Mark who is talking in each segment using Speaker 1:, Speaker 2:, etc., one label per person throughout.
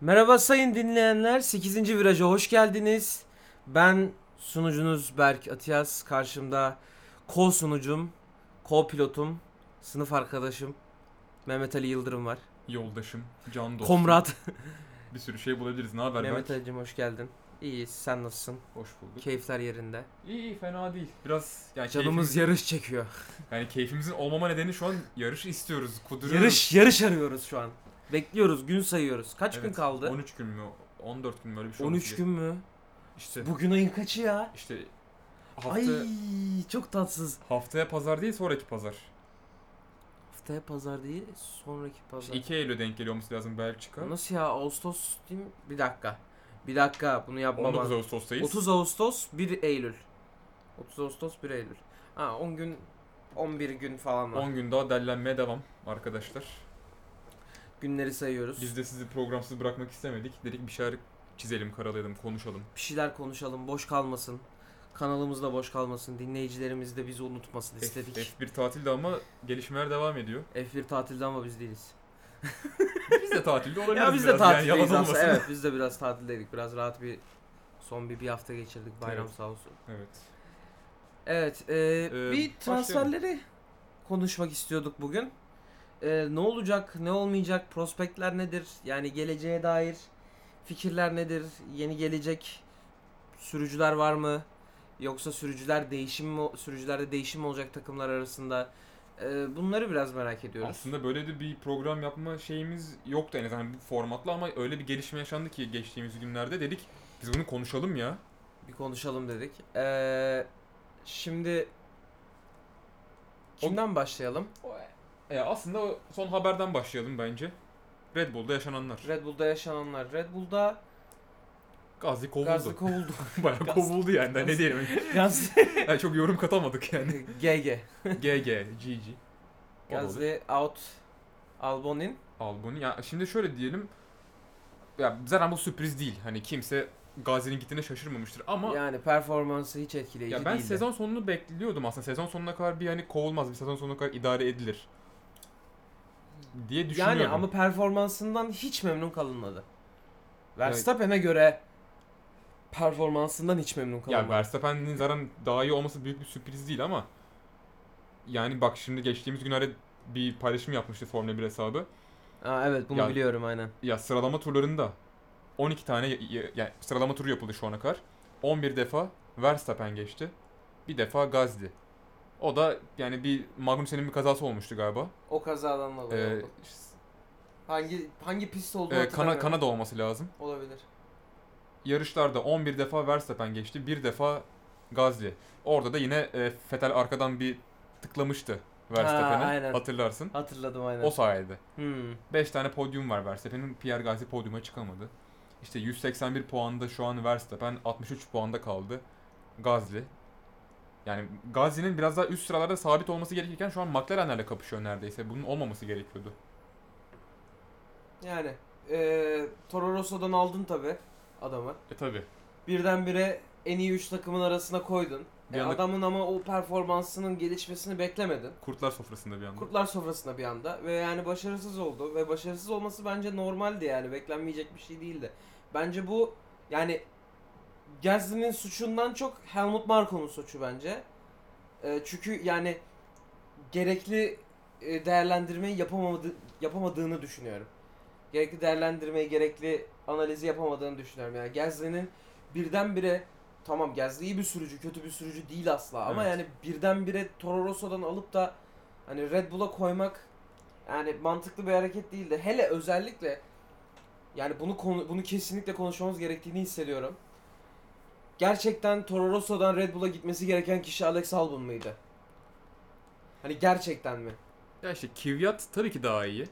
Speaker 1: Merhaba sayın dinleyenler. 8. viraja hoş geldiniz. Ben sunucunuz Berk Atiyaz. Karşımda co sunucum, co pilotum, sınıf arkadaşım Mehmet Ali Yıldırım var.
Speaker 2: Yoldaşım, can dostum.
Speaker 1: Komrat.
Speaker 2: Bir sürü şey bulabiliriz. Ne haber
Speaker 1: Mehmet
Speaker 2: Berk?
Speaker 1: Ali'cim hoş geldin. İyi, sen nasılsın?
Speaker 2: Hoş bulduk.
Speaker 1: Keyifler yerinde.
Speaker 2: iyi iyi fena değil. Biraz yani
Speaker 1: Canımız
Speaker 2: keyfimiz-
Speaker 1: yarış çekiyor.
Speaker 2: yani keyfimizin olmama nedeni şu an yarış istiyoruz. Kuduruyoruz.
Speaker 1: Yarış, yarış arıyoruz şu an. Bekliyoruz, gün sayıyoruz. Kaç gün
Speaker 2: Evet,
Speaker 1: kaldı?
Speaker 2: 13 gün mü? 14 gün mü? Öyle bir şey
Speaker 1: 13
Speaker 2: olması
Speaker 1: gün mü?
Speaker 2: gerek. İşte,
Speaker 1: Bugün ayın kaçı ya?
Speaker 2: işte hafta,
Speaker 1: Ay, çok tatsız.
Speaker 2: haftaya pazar değil sonraki pazar.
Speaker 1: Haftaya pazar değil, sonraki pazar.
Speaker 2: İşte 2 Eylül'e denk geliyor olması lazım Belçika.
Speaker 1: Nasıl ya Ağustos değil mi? Bir dakika. Bir dakika bunu yapmam
Speaker 2: 19
Speaker 1: lazım.
Speaker 2: Ağustos'tayız.
Speaker 1: 30 Ağustos 1 Eylül. 30 Ağustos 1 Eylül. Ha 10 gün 11 gün falan var.
Speaker 2: 10 gün daha dellenmeye devam arkadaşlar.
Speaker 1: Günleri sayıyoruz.
Speaker 2: Biz de sizi programsız bırakmak istemedik. Dedik bir şeyler çizelim, karalayalım, konuşalım.
Speaker 1: Bir şeyler konuşalım boş kalmasın. Kanalımız da boş kalmasın. Dinleyicilerimiz de bizi unutmasın
Speaker 2: F,
Speaker 1: istedik.
Speaker 2: F1 tatilde ama gelişmeler devam ediyor.
Speaker 1: F1 tatilde ama biz değiliz.
Speaker 2: Biz de tatilde olabiliriz
Speaker 1: Ya biz de
Speaker 2: biraz. Yani
Speaker 1: tatildeyiz
Speaker 2: yalan
Speaker 1: aslında.
Speaker 2: olmasın.
Speaker 1: Evet biz de biraz tatildeydik. Biraz rahat bir son bir, bir hafta geçirdik bayram
Speaker 2: Evet.
Speaker 1: sağ olsun.
Speaker 2: Evet.
Speaker 1: Evet, e, bir
Speaker 2: Ee, başlayalım.
Speaker 1: transferleri konuşmak istiyorduk bugün. E, ne olacak, ne olmayacak, prospektler nedir? Yani geleceğe dair fikirler nedir? Yeni gelecek sürücüler var mı? Yoksa sürücüler değişim mi, sürücülerde değişim mi olacak takımlar arasında? E, bunları biraz merak ediyoruz.
Speaker 2: Aslında böyle de bir program yapma şeyimiz yoktu en azından bu formatla ama öyle bir gelişme yaşandı ki geçtiğimiz günlerde dedik biz bunu konuşalım ya.
Speaker 1: Bir konuşalım dedik. E, şimdi
Speaker 2: O-
Speaker 1: kimden başlayalım?
Speaker 2: E aslında o son haberden başlayalım bence. Red Bull'da yaşananlar.
Speaker 1: Red Bull'da yaşananlar. Red Bull'da
Speaker 2: Gazi kovuldu.
Speaker 1: Gazlı kovuldu.
Speaker 2: Bayağı
Speaker 1: Gazi-
Speaker 2: kovuldu yani. Daha
Speaker 1: Gazi-
Speaker 2: Ne diyelim?
Speaker 1: Gaz
Speaker 2: Yani çok yorum katamadık yani.
Speaker 1: GG.
Speaker 2: GG, GG. O da olur.
Speaker 1: Gazze out Albonin.
Speaker 2: Albon. Ya şimdi şöyle diyelim. Ya zaten bu sürpriz değil. Hani kimse Gazi'nin gittiğine şaşırmamıştır ama
Speaker 1: Yani performansı hiç etkileyici
Speaker 2: Ya ben
Speaker 1: değildi.
Speaker 2: sezon sonunu bekliyordum aslında. Sezon sonuna kadar bir hani kovulmaz, bir sezon sonuna kadar idare edilir diye düşünüyorum.
Speaker 1: yani ama
Speaker 2: ama
Speaker 1: performansından hiç memnun kalınmadı. Verstappen'e göre performansından hiç memnun
Speaker 2: ya
Speaker 1: kalınmadı.
Speaker 2: Verstappen'in zaten daha iyi olması büyük bir sürpriz değil ama yani bak şimdi geçtiğimiz günlerde bir paylaşım yapmıştı Formula 1 hesabı.
Speaker 1: Aa, evet bunu
Speaker 2: Ya-
Speaker 1: biliyorum aynen.
Speaker 2: Ya sıralama turlarında 12 tane ya- ya- yani sıralama turu yapıldı şu ana kadar. 11 defa Verstappen geçti. Bir defa Gazdi. O da yani bir Magnussen'in bir kazası olmuştu galiba.
Speaker 1: O kazadan dolayı
Speaker 2: Ee,
Speaker 1: oldu. Hangi hangi pist olduğu
Speaker 2: e, kana,
Speaker 1: hatırlamıyorum.
Speaker 2: Kanada olması lazım.
Speaker 1: olabilir.
Speaker 2: yarışlarda 11 defa Verstappen geçti, bir defa Gazli. Orada da yine e, Vettel arkadan bir tıklamıştı
Speaker 1: Ha,
Speaker 2: Verstappen'e.
Speaker 1: aynen.
Speaker 2: Hatırlarsın.
Speaker 1: Hatırladım aynen.
Speaker 2: O sayede.
Speaker 1: Hmm.
Speaker 2: 5 tane podyum var Verstappen'in. Pierre Gasly podyuma çıkamadı. İşte 181 puanda şu an Verstappen 63 puanda kaldı. Gazli. Yani Gazli'nin biraz daha üst sıralarda sabit olması gerekirken şu an McLaren'lerle kapışıyor neredeyse. Bunun olmaması gerekiyordu.
Speaker 1: Yani ee, Toro Rosso'dan aldın tabi adamı.
Speaker 2: E tabi.
Speaker 1: birdenbire en iyi 3 takımın arasına koydun.
Speaker 2: Bir
Speaker 1: E,
Speaker 2: anda-
Speaker 1: adamın ama o performansının gelişmesini beklemedin.
Speaker 2: Kurtlar sofrasında bir anda.
Speaker 1: Kurtlar sofrasında bir anda ve yani başarısız oldu ve başarısız olması bence normaldi yani beklenmeyecek bir şey değildi. Bence bu yani Gasly'nin suçundan çok Helmut Marko'nun suçu bence. E, çünkü yani gerekli e, değerlendirmeyi yapamadı, yapamadığını düşünüyorum. Gerekli değerlendirmeyi, gerekli analizi yapamadığını düşünüyorum. Yani Gasly'nin birdenbire tamam Gasly iyi bir sürücü, kötü bir sürücü değil asla ama
Speaker 2: Evet.
Speaker 1: yani birdenbire Toro Rosso'dan alıp da hani Red Bull'a koymak yani mantıklı bir hareket değildi. Hele özellikle yani bunu konu, bunu kesinlikle konuşmamız gerektiğini hissediyorum. Gerçekten Toro Rosso'dan Red Bull'a gitmesi gereken kişi Alex Albon mıydı? Hani gerçekten mi?
Speaker 2: Ya işte Kvyat tabii ki daha iyi.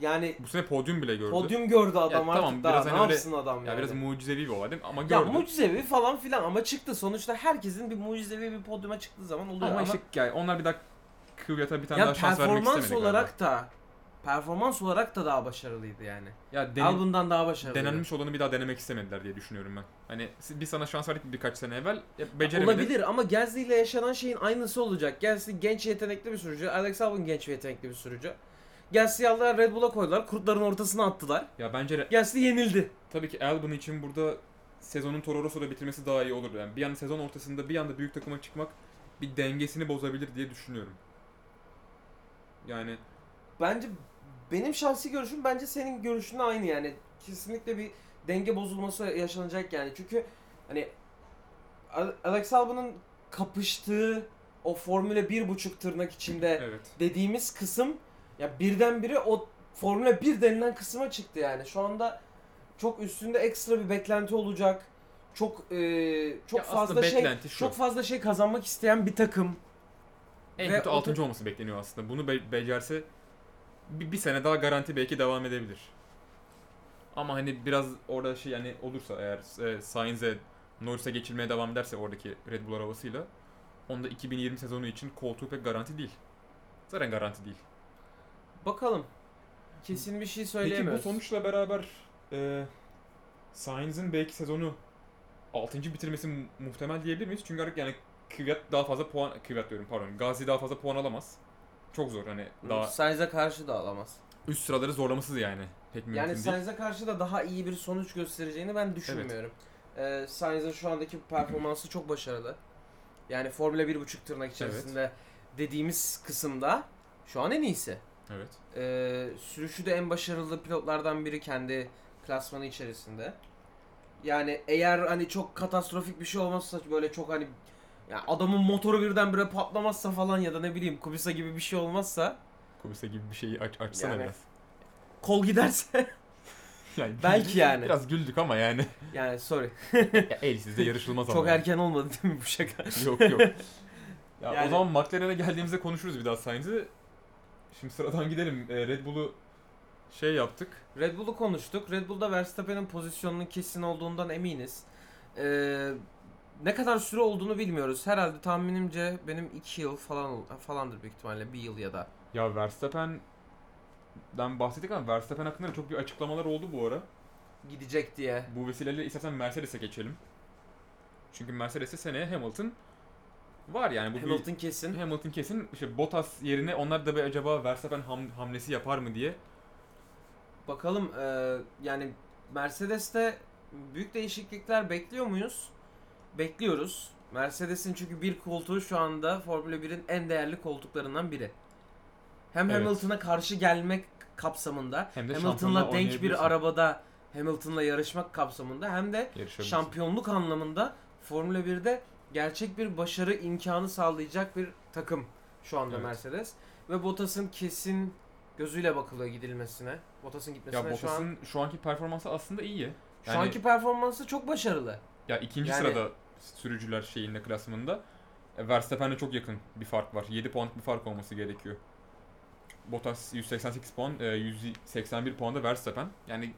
Speaker 1: Yani
Speaker 2: Bu sene podyum bile gördü.
Speaker 1: podyum gördü adam
Speaker 2: tamam,
Speaker 1: artık daha
Speaker 2: biraz
Speaker 1: ne
Speaker 2: hani öyle-
Speaker 1: yapsın adam
Speaker 2: Ya
Speaker 1: yani.
Speaker 2: biraz mucizevi bir olay değil mi? Ama
Speaker 1: ya
Speaker 2: gördüm.
Speaker 1: mucizevi falan filan ama çıktı sonuçta herkesin bir mucizevi bir podyuma çıktığı zaman oluyor
Speaker 2: ama,
Speaker 1: ama,
Speaker 2: işte yani onlar bir daha Kvyat'a bir tane
Speaker 1: ya
Speaker 2: daha şans vermek istemedi
Speaker 1: performans
Speaker 2: galiba.
Speaker 1: olarak da performans olarak da daha başarılıydı yani.
Speaker 2: ya denen-
Speaker 1: Al bundan daha başarılıydı.
Speaker 2: denenmiş olanı bir daha denemek istemediler diye düşünüyorum ben. Hani si- bir sana şans verdik birkaç sene evvel ya beceremedi.
Speaker 1: Olabilir ama Gasly ile yaşanan şeyin aynısı olacak. Gasly genç yetenekli bir sürücü. Alex Albon genç ve yetenekli bir sürücü. Gasly'i aldılar Red Bull'a koydular. Kurtların ortasına attılar.
Speaker 2: Ya bence re-
Speaker 1: Gasly yenildi.
Speaker 2: tabii ki Albon için burada sezonun Toro Rosso'da bitirmesi daha iyi olurdu. Yani bir an sezon ortasında bir anda büyük takıma çıkmak bir dengesini bozabilir diye düşünüyorum. Yani
Speaker 1: Bence benim şahsi görüşüm bence senin görüşünle aynı yani. Kesinlikle bir denge bozulması yaşanacak yani. Çünkü hani Al- Alex Albon'un kapıştığı o Formula 1.5 tırnak içinde
Speaker 2: evet.
Speaker 1: dediğimiz kısım ya birdenbire o Formula 1 denilen kısma çıktı yani. Şu anda çok üstünde ekstra bir beklenti olacak. Çok e, çok
Speaker 2: Ya aslında
Speaker 1: fazla şey
Speaker 2: beklenti şu.
Speaker 1: çok fazla şey kazanmak isteyen bir takım.
Speaker 2: En
Speaker 1: Ve
Speaker 2: kötü
Speaker 1: o-
Speaker 2: 6. olması bekleniyor aslında. Bunu be- becerse bir, bir sene daha garanti belki devam edebilir. Ama hani biraz orada şey yani olursa eğer e, Sainz'e Norris'e geçilmeye devam ederse oradaki Red Bull arabasıyla onda 2020 sezonu için koltuğu pek garanti değil. Zaten garanti değil.
Speaker 1: Bakalım. Kesin bir şey
Speaker 2: Peki bu
Speaker 1: söyleyemiyoruz.
Speaker 2: sonuçla beraber e, Sainz'in belki sezonu 6. bitirmesi mu- muhtemel diyebilir miyiz? Çünkü artık yani Kvyat daha fazla puan Kvyat diyorum pardon. Gazi daha fazla puan alamaz. Çok zor hani daha
Speaker 1: Sainz'e karşı da alamaz.
Speaker 2: üst sıraları zorlaması yani pek mümkün
Speaker 1: Yani
Speaker 2: değil.
Speaker 1: Sainz'e karşı da daha iyi bir sonuç göstereceğini ben düşünmüyorum. Ee, Sainz'in şu andaki performansı çok başarılı. Yani Formula 1.5 tırnak içerisinde dediğimiz kısımda şu an en iyisi.
Speaker 2: Evet.
Speaker 1: Ee, sürüşü de en başarılı pilotlardan biri kendi klasmanı içerisinde. Yani eğer hani çok katastrofik bir şey olmazsa böyle çok hani ya adamın motoru birdenbire patlamazsa falan ya da ne bileyim Kubisa gibi bir şey olmazsa
Speaker 2: Kubisa gibi bir şeyi aç, açsana
Speaker 1: Yani-
Speaker 2: biraz.
Speaker 1: kol giderse
Speaker 2: Yani
Speaker 1: Belki yani.
Speaker 2: Biraz güldük ama yani.
Speaker 1: yani sorry
Speaker 2: ya elsizde yarışılmaz ama.
Speaker 1: çok
Speaker 2: yani.
Speaker 1: erken olmadı değil mi bu şaka?
Speaker 2: Yok yok. Ya
Speaker 1: Yani-
Speaker 2: o zaman McLaren'e geldiğimizde konuşuruz bir daha Sainz'i. Şimdi sıradan gidelim. E, Red Bull'u şey yaptık.
Speaker 1: Red Bull'u konuştuk. Red Bull'da Verstappen'in pozisyonunun kesin olduğundan eminiz. Ee, ne kadar süre olduğunu bilmiyoruz. Herhalde tahminimce benim 2 yıl falan falandır büyük ihtimalle. 1 yıl ya da.
Speaker 2: Ya Verstappen'den bahsettik ama Verstappen hakkında da çok bir açıklamalar oldu bu ara.
Speaker 1: Gidecek diye.
Speaker 2: Bu vesileyle istersen Mercedes'e geçelim. Çünkü Mercedes'e seneye Hamilton var yani. Bu bir-
Speaker 1: Hamilton kesin.
Speaker 2: Hamilton kesin. İşte Bottas yerine onlar da bir acaba Verstappen ham- hamlesi yapar mı diye.
Speaker 1: Bakalım e, yani Mercedes'te büyük değişiklikler bekliyor muyuz? Bekliyoruz. Mercedes'in çünkü bir koltuğu şu anda Formula 1'in en değerli koltuklarından biri. Hem
Speaker 2: Evet.
Speaker 1: Hamilton'a karşı gelmek kapsamında
Speaker 2: Hem de şampiyonla
Speaker 1: Hamilton'la denk
Speaker 2: oynayabilirsin.
Speaker 1: bir arabada Hamilton'la yarışmak kapsamında hem de
Speaker 2: Yarışabilirsin.
Speaker 1: şampiyonluk anlamında Formula 1'de gerçek bir başarı imkanı sağlayacak bir takım şu anda
Speaker 2: Evet.
Speaker 1: Mercedes ve Bottas'ın kesin gözüyle bakılıyor gidilmesine. Bottas'ın gitmesine
Speaker 2: ya
Speaker 1: şu an
Speaker 2: Bottas'ın şu anki performansı aslında iyi.
Speaker 1: şu
Speaker 2: yani-
Speaker 1: anki performansı çok başarılı.
Speaker 2: Ya ikinci
Speaker 1: Yani-
Speaker 2: sırada sürücüler şeyinde klasmanında E, Verstappen'e çok yakın bir fark var. 7 puanlık bir fark olması gerekiyor. Bottas 188 puan, e, 181 puanda Verstappen. Yani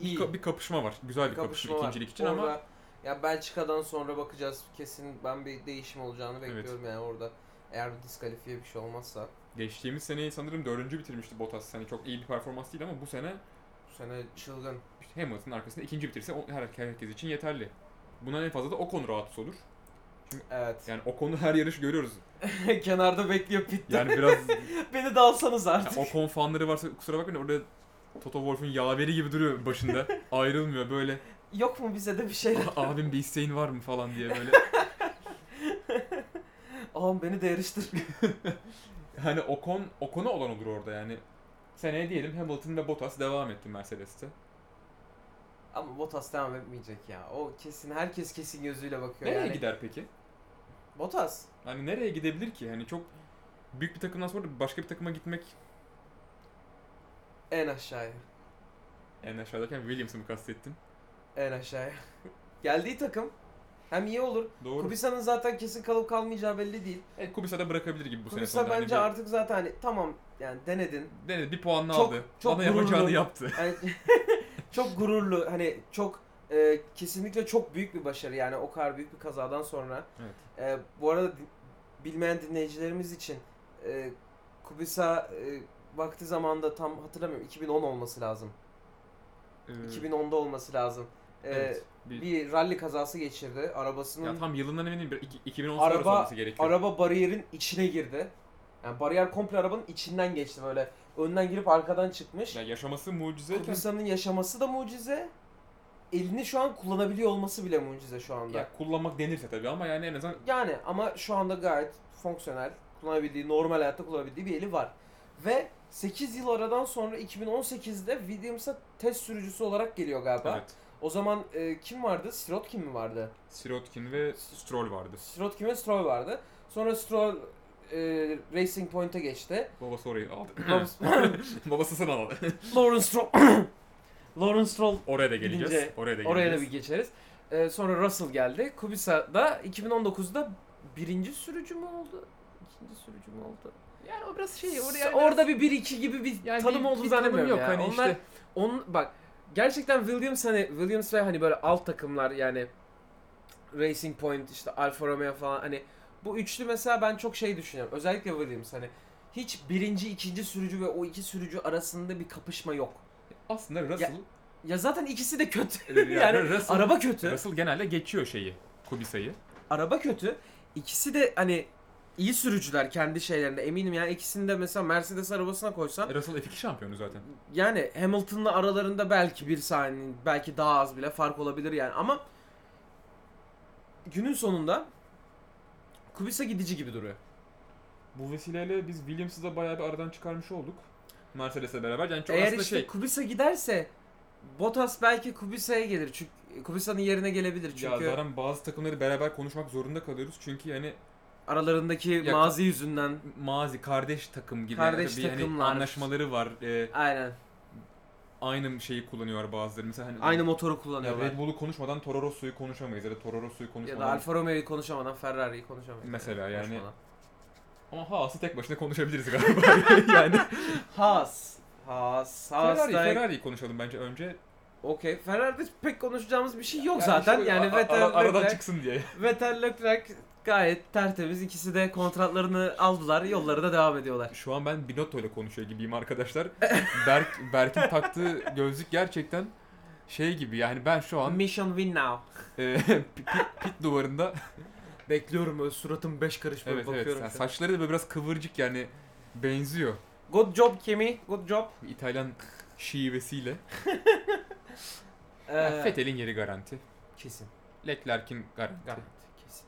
Speaker 1: İyi.
Speaker 2: ka- bir kapışma var. Güzel bir kapışma,
Speaker 1: kapışma var.
Speaker 2: ikincilik için
Speaker 1: Orada-
Speaker 2: ama
Speaker 1: ya Belçika'dan sonra bakacağız. Kesin ben bir değişim olacağını
Speaker 2: Evet.
Speaker 1: bekliyorum yani orada. Eğer bir diskalifiye bir şey olmazsa
Speaker 2: geçtiğimiz seneyi sanırım dördüncü bitirmişti Bottas. Hani çok iyi bir performans değil ama bu sene
Speaker 1: bu sene çılgın.
Speaker 2: İşte Hamilton arkasında ikinci bitirse o- her herkes için yeterli. Buna en fazla da Ocon rahatsız olur.
Speaker 1: Evet.
Speaker 2: Yani Ocon'u her yarış görüyoruz.
Speaker 1: Kenarda bekliyor pitte.
Speaker 2: Yani biraz
Speaker 1: Beni de alsanız artık.
Speaker 2: yani Ocon fanları varsa kusura bakmayın orada Toto Wolff'un yaveri gibi duruyor başında. Ayrılmıyor böyle.
Speaker 1: Yok mu bize de bir şey?
Speaker 2: "Ah, Abim bir isteğin var mı falan diye böyle.
Speaker 1: Ağam beni de yarıştır.
Speaker 2: Hani Ocon, Ocon'a olan olur orada yani. Seneye diyelim Hamilton ve Bottas devam etti Mercedes'te.
Speaker 1: Ama Bottas devam etmeyecek ya. O kesin herkes kesin gözüyle bakıyor
Speaker 2: Nereye
Speaker 1: yani.
Speaker 2: gider peki?
Speaker 1: Bottas.
Speaker 2: Hani nereye gidebilir ki? Hani çok büyük bir takımdan sonra da başka bir takıma gitmek
Speaker 1: En aşağıya.
Speaker 2: en aşağıdayken Williams'ı mı kastettin?
Speaker 1: En aşağıya. Geldiği takım hem iyi olur.
Speaker 2: Doğru.
Speaker 1: Kubica'nın zaten kesin kalıp kalmayacağı belli değil.
Speaker 2: E, Kubica da bırakabilir gibi bu sene
Speaker 1: Kubica
Speaker 2: sonunda. Hani
Speaker 1: bence
Speaker 2: bir-
Speaker 1: artık zaten hani tamam yani denedin.
Speaker 2: Denedi bir puanla
Speaker 1: Çok-
Speaker 2: aldı.
Speaker 1: çok
Speaker 2: Bana
Speaker 1: gururlu.
Speaker 2: yapacağını yaptı.
Speaker 1: Yani Hani çok gururlu hani çok e, kesinlikle çok büyük bir başarı yani o kadar büyük bir kazadan sonra.
Speaker 2: Evet.
Speaker 1: E, bu arada di- bilmeyen dinleyicilerimiz için e, Kubica e, vakti zamanda tam hatırlamıyorum 2010 olması lazım.
Speaker 2: Ee,
Speaker 1: 2010'da olması lazım. Ee,
Speaker 2: evet, bir-
Speaker 1: Bir ralli kazası geçirdi.
Speaker 2: ya
Speaker 1: Arabasının
Speaker 2: tam yılından eminim. bir- iki- 2010
Speaker 1: Araba-
Speaker 2: sonrası olması gerekiyor.
Speaker 1: araba bariyerin içine girdi. Yani bariyer komple arabanın içinden geçti böyle. Önden girip arkadan çıkmış.
Speaker 2: Ya yaşaması mucizeyken
Speaker 1: Kıbrıs'ın yaşaması da mucize. Elini şu an kullanabiliyor olması bile mucize şu anda.
Speaker 2: ya kullanmak denirse tabii ama yani en azından
Speaker 1: Yani ama şu anda gayet fonksiyonel, kullanabildiği, normal hayatta kullanabildiği bir eli var. Ve 8 yıl aradan sonra 2018'de Williams'a test sürücüsü olarak geliyor galiba.
Speaker 2: evet.
Speaker 1: O zaman e, kim vardı? Sirotkin mi vardı?
Speaker 2: Sirotkin ve Stroll vardı.
Speaker 1: Sirotkin ve Stroll vardı. Sonra Stroll e, Racing Point'e geçti.
Speaker 2: Babası orayı aldı.
Speaker 1: Lawrence
Speaker 2: Babası sen aldı.
Speaker 1: Lawrence Stroll Lawrence Stroll
Speaker 2: Oraya da geleceğiz.
Speaker 1: Gidince
Speaker 2: oraya da geleceğiz.
Speaker 1: Oraya da bir geçeriz. Ee, sonra Russell geldi. Kubica da 2019'da birinci sürücü mü oldu? İkinci sürücü mü oldu?
Speaker 3: Yani o biraz şey orada
Speaker 1: S- Orada bir 1-2 gibi bir
Speaker 3: Yani
Speaker 1: tanım
Speaker 3: bir-
Speaker 1: oldu
Speaker 3: bir tanım
Speaker 1: zannetmiyorum
Speaker 3: yok.
Speaker 1: ya.
Speaker 3: Hani
Speaker 1: Onlar,
Speaker 3: işte-
Speaker 1: on, bak gerçekten Williams hani Williams ve hani böyle alt takımlar yani Racing Point işte Alfa Romeo falan hani bu üçlü mesela ben çok şey düşünüyorum. Özellikle Williams hani hiç birinci, ikinci sürücü ve o iki sürücü arasında bir kapışma yok.
Speaker 2: Aslında Russell,
Speaker 1: Ya zaten ikisi de kötü.
Speaker 2: Yani
Speaker 1: yani,
Speaker 2: Russell-
Speaker 1: araba kötü.
Speaker 2: Russell genelde geçiyor şeyi. Kubica'yı.
Speaker 1: araba kötü. İkisi de hani iyi sürücüler kendi şeylerinde eminim yani ikisini de mesela Mercedes arabasına koysan
Speaker 2: E, Russell F2 şampiyonu zaten.
Speaker 1: yani Hamilton'la aralarında belki bir saniye belki daha az bile fark olabilir yani ama günün sonunda Kubica gidici gibi duruyor.
Speaker 2: Bu vesileyle biz Williams'ı da bayağı bir aradan çıkarmış olduk. Mercedes'le beraber. Yani çok
Speaker 1: Eğer
Speaker 2: aslında
Speaker 1: işte
Speaker 2: şey.
Speaker 1: Kubica giderse Bottas belki Kubica'ya gelir çünkü Kubica'nın yerine gelebilir
Speaker 2: Ya
Speaker 1: çünkü
Speaker 2: zaten bazı takımları beraber konuşmak zorunda kalıyoruz. Çünkü yani
Speaker 1: aralarındaki
Speaker 2: Ya-
Speaker 1: mazi yüzünden
Speaker 2: mazi kardeş takım gibi
Speaker 1: Kardeş
Speaker 2: bir hani
Speaker 1: takımlar.
Speaker 2: anlaşmaları var. E,
Speaker 1: aynen
Speaker 2: aynı şeyi kullanıyorlar bazıları. Mesela hani
Speaker 1: aynı motoru
Speaker 2: Ya
Speaker 1: kullanıyorlar.
Speaker 2: Red Bull'u konuşmadan Toro Rosso'yu konuşamayız ya da Toro Rosso'yu
Speaker 1: Ya
Speaker 2: konuşmadan.
Speaker 1: da Alfa Romeo'yu konuşamadan Ferrari'yi konuşamayız.
Speaker 2: Mesela yani-
Speaker 1: konuşmadan.
Speaker 2: Ama Haas'ı tek başına konuşabiliriz galiba. yani
Speaker 1: Haas. Haas. Haas.
Speaker 2: Ferrari,
Speaker 1: da-
Speaker 2: Ferrari'yi konuşalım bence önce.
Speaker 1: Okey. Ferrari'de pek konuşacağımız bir şey yok
Speaker 2: Yani
Speaker 1: zaten.
Speaker 2: şöyle
Speaker 1: yani
Speaker 2: a- a-
Speaker 1: Vettel,
Speaker 2: aradan
Speaker 1: Leclerc,
Speaker 2: çıksın diye.
Speaker 1: Vettel, Leclerc gayet tertemiz. İkisi de kontratlarını aldılar. Yollarına devam ediyorlar.
Speaker 2: Şu an ben Binotto ile konuşuyor gibiyim arkadaşlar. Berk Berk'in taktığı gözlük gerçekten şey gibi yani ben şu an
Speaker 1: Mission win now.
Speaker 2: e, pit, pit duvarında
Speaker 1: Bekliyorum böyle suratım beş karış böyle
Speaker 2: evet evet
Speaker 1: bakıyorum.
Speaker 2: yani
Speaker 1: şu an.
Speaker 2: saçları da böyle biraz kıvırcık yani benziyor
Speaker 1: Good job Kimi. Good job.
Speaker 2: Bir İtalyan şivesiyle.
Speaker 1: Ee,
Speaker 2: Yani Vettel'in yeri garanti.
Speaker 1: Kesin.
Speaker 2: Leclerc'in garanti.
Speaker 1: Garanti. Kesin.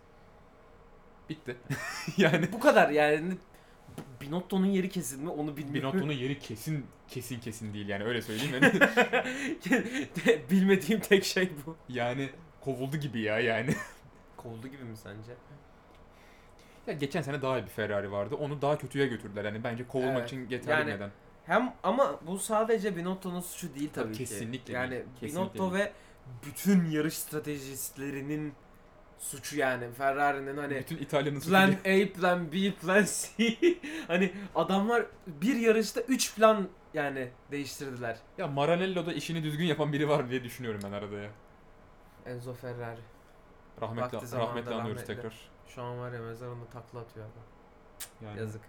Speaker 2: Bitti. yani
Speaker 1: Bu kadar yani. Binotto'nun yeri kesin mi onu bilmiyorum.
Speaker 2: Binotto'nun yeri kesin kesin kesin değil yani öyle söyleyeyim. Yani,
Speaker 1: Bilmediğim tek şey bu.
Speaker 2: yani kovuldu gibi ya yani.
Speaker 1: Kovuldu gibi mi sence?
Speaker 2: Ya geçen sene daha iyi bir Ferrari vardı. Onu daha kötüye götürdüler. Yani bence kovulmak
Speaker 1: Evet.
Speaker 2: için yeterli
Speaker 1: Yani
Speaker 2: bir neden.
Speaker 1: Hem ama bu sadece Binotto'nun suçu değil tabii ki.
Speaker 2: Kesinlikle
Speaker 1: Yani
Speaker 2: değil, kesinlikle
Speaker 1: Binotto ve bütün yarış stratejistlerinin suçu yani Ferrari'nin hani
Speaker 2: Bütün İtalya'nın suçu
Speaker 1: plan
Speaker 2: değil.
Speaker 1: A, plan B, plan C. hani adamlar bir yarışta 3 plan yani değiştirdiler.
Speaker 2: Ya Maranello'da işini düzgün yapan biri var diye düşünüyorum ben arada ya.
Speaker 1: Enzo Ferrari.
Speaker 2: Rahmetli,
Speaker 1: Vakti zamanında
Speaker 2: rahmetli anıyoruz
Speaker 1: rahmetli.
Speaker 2: tekrar.
Speaker 1: Şu an var ya mezarında takla atıyor adam.
Speaker 2: Yani
Speaker 1: Yazık.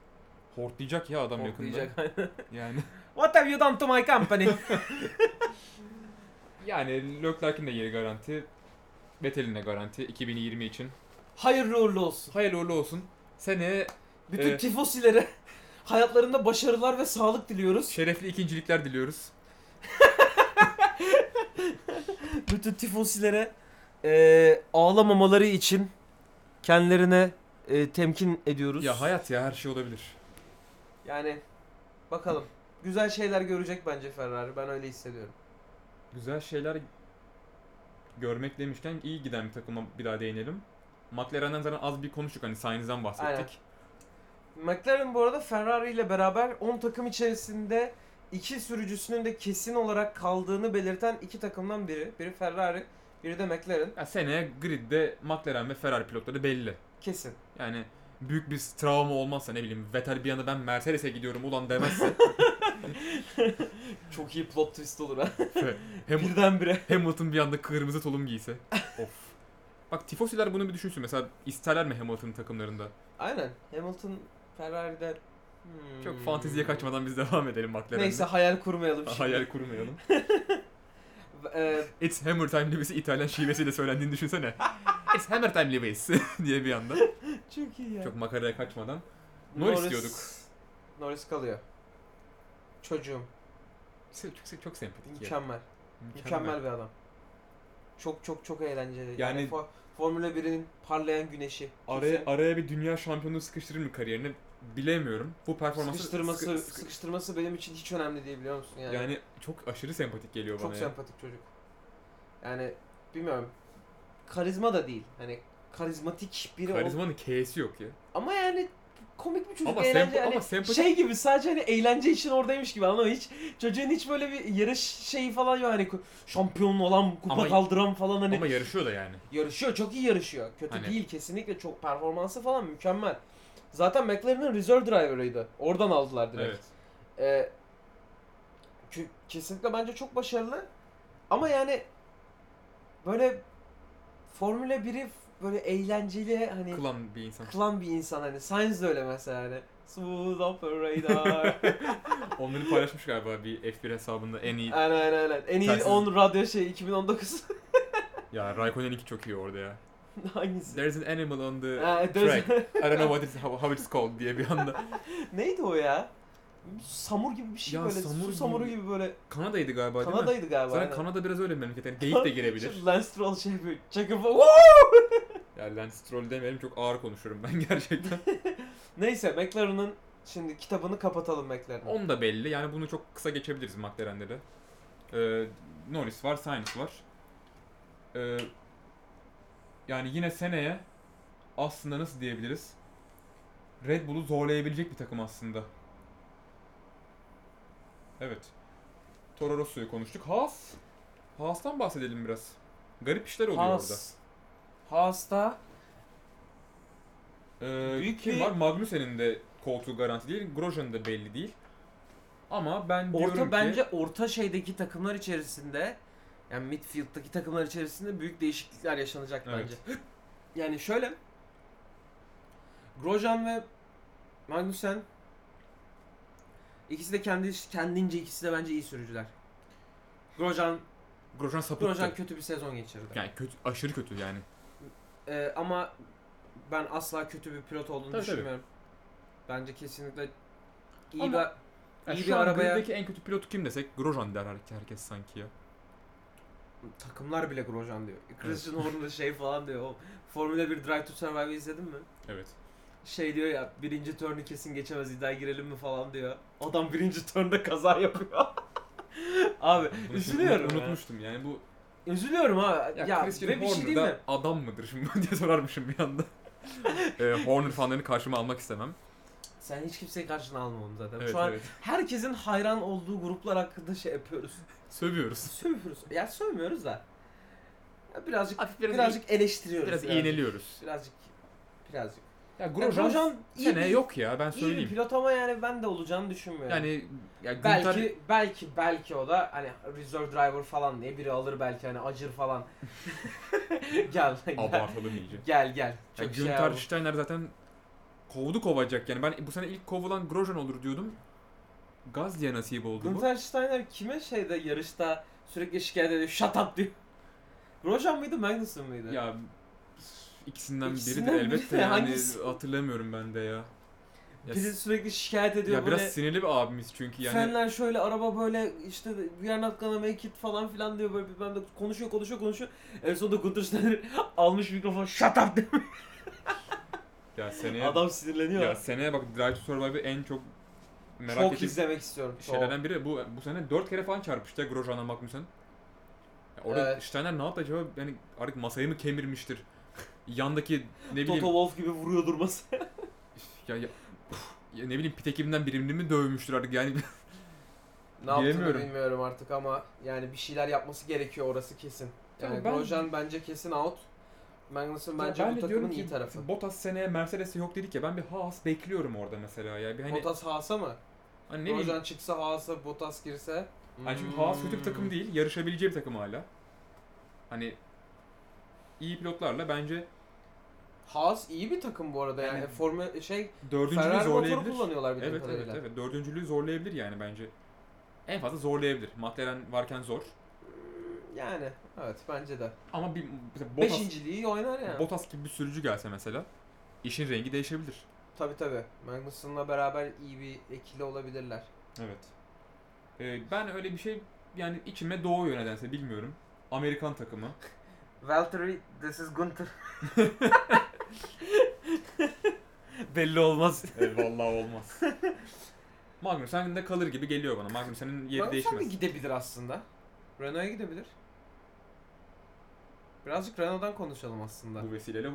Speaker 2: Hortlayacak ya adam yakında.
Speaker 1: Korklayacak.
Speaker 2: Yani
Speaker 1: What have you done to my company?
Speaker 2: yani Leclerc'in de yeri garanti. Vettel'in de garanti 2020 için.
Speaker 1: Hayırlı uğurlu olsun.
Speaker 2: Hayırlı uğurlu olsun. Seneye
Speaker 1: Bütün
Speaker 2: Evet.
Speaker 1: tifosilere hayatlarında başarılar ve sağlık diliyoruz.
Speaker 2: şerefli ikincilikler diliyoruz.
Speaker 1: bütün tifosilere eee, ağlamamaları için kendilerine eee, temkin ediyoruz.
Speaker 2: Ya hayat ya her şey olabilir.
Speaker 1: Yani bakalım. Güzel şeyler görecek bence Ferrari. Ben öyle hissediyorum.
Speaker 2: Güzel şeyler görmek demişken iyi giden bir takıma bir daha değinelim. McLaren'den zaten az bir konuştuk hani Sainz'den bahsettik.
Speaker 1: McLaren bu arada Ferrari ile beraber 10 takım içerisinde iki sürücüsünün de kesin olarak kaldığını belirten iki takımdan biri. Biri Ferrari, biri de McLaren.
Speaker 2: Ya seneye gridde McLaren ve Ferrari pilotları belli.
Speaker 1: Kesin.
Speaker 2: Yani büyük bir travma olmazsa ne bileyim Vettel bir anda ben Mercedes'e gidiyorum ulan demezse
Speaker 1: Çok iyi plot twist olur ha.
Speaker 2: Ham-
Speaker 1: Birdenbire.
Speaker 2: Hamilton bir anda kırmızı tulum giyse. of. Bak tifosiler bunu bir düşünsün mesela isterler mi Hamilton'ın takımlarında?
Speaker 1: Aynen. Hamilton Ferrari'de Hmm.
Speaker 2: Çok fanteziye kaçmadan biz devam edelim McLaren'le.
Speaker 1: Neyse hayal kurmayalım şimdi.
Speaker 2: Hayal kurmayalım.
Speaker 1: Eee,
Speaker 2: It's Hammer Time Lewis'i İtalyan şivesiyle söylendiğini düşünsene. It's Hammer Time Lewis diye bir anda.
Speaker 1: Çok iyi ya.
Speaker 2: Çok makaraya kaçmadan. Norris diyorduk.
Speaker 1: Norris kalıyor. Çocuğum.
Speaker 2: Se- Çok, se- çok sempatik ya.
Speaker 1: Mükemmel. Mükemmel bir adam. Çok çok çok eğlenceli. Yani,
Speaker 2: Yani-
Speaker 1: Fo- Formula 1'in parlayan güneşi.
Speaker 2: Araya, araya bir dünya şampiyonluğu sıkıştırır mı kariyerini bilemiyorum. Bu performansı
Speaker 1: sıkıştırması
Speaker 2: sıkı- sıkı-
Speaker 1: sıkıştırması benim için hiç önemli değil biliyor musun yani.
Speaker 2: yani. çok aşırı sempatik geliyor
Speaker 1: çok
Speaker 2: bana ya.
Speaker 1: sempatik çocuk. Yani bilmiyorum. Karizma da değil. Hani karizmatik biri ol-
Speaker 2: Karizmanın K'si yok ya.
Speaker 1: ama yani komik bir çocuk
Speaker 2: Ama
Speaker 1: eğlence
Speaker 2: sempa-
Speaker 1: hani
Speaker 2: ama sempatik-
Speaker 1: şey gibi sadece hani eğlence için oradaymış gibi anladın mı? hiç çocuğun hiç böyle bir yarış şeyi falan yok hani ku- şampiyon olan kupa
Speaker 2: Ama-
Speaker 1: kaldıran falan hani
Speaker 2: Ama yarışıyor da yani.
Speaker 1: Yarışıyor, çok iyi yarışıyor. Kötü
Speaker 2: Hani-
Speaker 1: değil kesinlikle çok performansı falan mükemmel. Zaten McLaren'ın reserve driver'ıydı. Oradan aldılar direkt. Ee,
Speaker 2: Evet.
Speaker 1: kü- kesinlikle bence çok başarılı. Ama yani böyle Formula 1'i böyle eğlenceli hani
Speaker 2: Kılan bir insan.
Speaker 1: kılan bir insan hani Sainz de öyle mesela hani. Smooth operator.
Speaker 2: Onları paylaşmış galiba bir F1 hesabında en iyi.
Speaker 1: aynen aynen aynen. En iyi
Speaker 2: Sensiz-
Speaker 1: 10 radyo şey 2019.
Speaker 2: ya Raikkonen 2 çok iyi orada ya.
Speaker 1: Hangisi?
Speaker 2: There's an animal on the
Speaker 1: Ha, there's-
Speaker 2: track. I don't know what it's, how, how it's called diye bir anda.
Speaker 1: Neydi o ya? Samur gibi bir şey
Speaker 2: Ya
Speaker 1: böyle.
Speaker 2: samur
Speaker 1: su
Speaker 2: gibi-
Speaker 1: samuru gibi böyle.
Speaker 2: Kanada'ydı galiba değil mi?
Speaker 1: Kanada'ydı galiba.
Speaker 2: Zaten
Speaker 1: aynen.
Speaker 2: Kanada biraz öyle bir memleket. Yani geyik de girebilir.
Speaker 1: Şu Lance Stroll şey yapıyor. Çakıp
Speaker 2: Yani Lance Stroll demeyelim çok ağır konuşurum ben gerçekten.
Speaker 1: Neyse McLaren'ın şimdi kitabını kapatalım McLaren'ın.
Speaker 2: Onu da belli. Yani bunu çok kısa geçebiliriz McLaren'de de. Ee, Norris var, Sainz var. Ee, yani yine seneye aslında nasıl diyebiliriz? Red Bull'u zorlayabilecek bir takım aslında. Evet. Toro Rosso'yu konuştuk. Haas. Haas'tan bahsedelim biraz. Garip işler oluyor orada.
Speaker 1: Haas. Haas'ta
Speaker 2: Ee,
Speaker 1: Büyük
Speaker 2: kim
Speaker 1: bir-
Speaker 2: var? Magnussen'in de koltuğu garanti değil. Grosje'nin de belli değil. Ama ben diyorum
Speaker 1: orta
Speaker 2: ki...
Speaker 1: bence orta şeydeki takımlar içerisinde yani midfield'daki takımlar içerisinde büyük değişiklikler yaşanacak
Speaker 2: Evet.
Speaker 1: bence. Yani şöyle Grosjean ve Magnussen ikisi de kendi kendince ikisi de bence iyi sürücüler. Grosjean
Speaker 2: Grosjean sapıttı.
Speaker 1: Grosjean kötü bir sezon geçirdi.
Speaker 2: Yani kötü, aşırı kötü yani.
Speaker 1: Ee, ama ben asla kötü bir pilot olduğunu
Speaker 2: Tabii,
Speaker 1: düşünmüyorum. Bence kesinlikle iyi
Speaker 2: Ama-
Speaker 1: bir
Speaker 2: yani
Speaker 1: iyi
Speaker 2: şu
Speaker 1: bir
Speaker 2: an
Speaker 1: arabaya
Speaker 2: griddeki en kötü pilot kim desek Grosjean der her- herkes sanki ya.
Speaker 1: takımlar bile Grosjean diyor. Christian Horner'ın şey falan diyor. O Formula 1 Drive to Survive'ı izledin mi?
Speaker 2: Evet.
Speaker 1: Şey diyor ya birinci turnu kesin geçemez iddia girelim mi falan diyor. Adam birinci turnda kaza yapıyor. abi
Speaker 2: Bunu şimdi
Speaker 1: üzülüyorum. ya.
Speaker 2: Unutmuştum yani bu.
Speaker 1: Üzülüyorum abi.
Speaker 2: Ya,
Speaker 1: Ya,
Speaker 2: Christian
Speaker 1: ve bir şey
Speaker 2: Horner
Speaker 1: diyeyim mi?
Speaker 2: da adam mıdır şimdi diye sorarmışım bir anda. ee, Horner fanlarını karşıma almak istemem.
Speaker 1: Sen hiç kimseyi karşına alma onu zaten.
Speaker 2: Evet
Speaker 1: Şu an
Speaker 2: evet.
Speaker 1: herkesin hayran olduğu gruplar hakkında şey yapıyoruz.
Speaker 2: Sövüyoruz.
Speaker 1: Sövüyoruz. Ya sövmüyoruz da. Ya birazcık
Speaker 2: Hafif
Speaker 1: birazcık eleştiriyoruz.
Speaker 2: biraz
Speaker 1: yani.
Speaker 2: iğneliyoruz.
Speaker 1: Birazcık birazcık.
Speaker 2: Ya
Speaker 1: Yani Grosjean, iyi bir,
Speaker 2: seneye yok ya ben
Speaker 1: iyi bir
Speaker 2: söyleyeyim.
Speaker 1: pilot ama yani ben de olacağını düşünmüyorum.
Speaker 2: Yani ya Günther-
Speaker 1: belki belki belki o da hani reserve driver falan diye biri alır belki hani acır falan. gel gel.
Speaker 2: abartalım iyice.
Speaker 1: Gel gel. Çok
Speaker 2: Yani
Speaker 1: şey
Speaker 2: Günter
Speaker 1: yapma.
Speaker 2: Steiner zaten kovdu kovacak yani. Ben bu sene ilk kovulan Grosjean olur diyordum. Gaz diye nasip oldu bu.
Speaker 1: Günter Steiner kime şeyde yarışta sürekli şikayet ediyor shut up diyor. Grosjean mıydı Magnussen mıydı?
Speaker 2: Ya ikisinden,
Speaker 1: İkisinden
Speaker 2: biridir
Speaker 1: biri
Speaker 2: elbette
Speaker 1: de,
Speaker 2: yani
Speaker 1: hangisi?
Speaker 2: hatırlamıyorum ben de ya. Ya,
Speaker 1: Biri sürekli şikayet ediyor
Speaker 2: ya
Speaker 1: böyle.
Speaker 2: biraz sinirli bir abimiz çünkü yani.
Speaker 1: Fenler şöyle araba böyle işte we are not gonna make it falan filan diyor böyle bilmem de konuşuyor konuşuyor konuşuyor. En sonunda Gunter Steiner almış mikrofon shut up diyor.
Speaker 2: Ya seneye
Speaker 1: Adam sinirleniyor.
Speaker 2: ya seneye bak Drive to Survive'ı en çok merak
Speaker 1: çok
Speaker 2: ettiğim
Speaker 1: izlemek istiyorum. Çok.
Speaker 2: şeylerden biri bu bu sene 4 kere falan çarpıştı ya Grosjean'a Magnussen. Ya orada
Speaker 1: Evet.
Speaker 2: Steiner ne yaptı acaba? Yani artık masayı mı kemirmiştir? Yandaki ne
Speaker 1: Toto
Speaker 2: bileyim
Speaker 1: Wolff gibi vuruyor durması.
Speaker 2: Ya, ya, ya ne bileyim pit ekibinden birini mi dövmüştür artık yani
Speaker 1: ne yaptığını
Speaker 2: Bilemiyorum.
Speaker 1: bilmiyorum artık ama yani bir şeyler yapması gerekiyor orası kesin. Yani
Speaker 2: Tabii ben-
Speaker 1: Grosjean bence kesin out. Magnussen bence bu takımın iyi tarafı.
Speaker 2: Bottas seneye Mercedes'e yok dedik ya ben bir Haas bekliyorum orada mesela ya bir hani
Speaker 1: Bottas Haas'a mı?
Speaker 2: hani ne bileyim
Speaker 1: Grosjean çıksa Haas'a, Bottas girse.
Speaker 2: hani şimdi Haas kötü bir takım
Speaker 1: Hmm.
Speaker 2: değil yarışabileceği bir takım hala hani iyi pilotlarla bence
Speaker 1: Haas iyi bir takım bu arada yani,
Speaker 2: Yani-
Speaker 1: Formula şey
Speaker 2: dördüncülüğü
Speaker 1: Ferrari motoru
Speaker 2: zorlayabilir.
Speaker 1: kullanıyorlar bir
Speaker 2: Evet evet evet dördüncülüğü zorlayabilir yani bence en fazla zorlayabilir McLaren varken zor
Speaker 1: Yani evet bence de.
Speaker 2: ama bir mesela Bottas
Speaker 1: Beşinciliği oynar yani.
Speaker 2: Bottas gibi bir sürücü gelse mesela işin rengi değişebilir.
Speaker 1: Tabi tabi. Magnussen'la beraber iyi bir ekili olabilirler.
Speaker 2: Evet. Ee, ben öyle bir şey yani içime doğuyor nedense bilmiyorum. Amerikan takımı.
Speaker 1: Valtteri, this is Gunther.
Speaker 3: Belli olmaz.
Speaker 2: e, vallahi olmaz. Magnussen de kalır gibi geliyor bana. Magnussen'in yeri
Speaker 1: Magnussen de
Speaker 2: değişmez.
Speaker 1: gidebilir aslında. Renault'a gidebilir. Birazcık Renault'dan konuşalım aslında.
Speaker 2: Bu vesileyle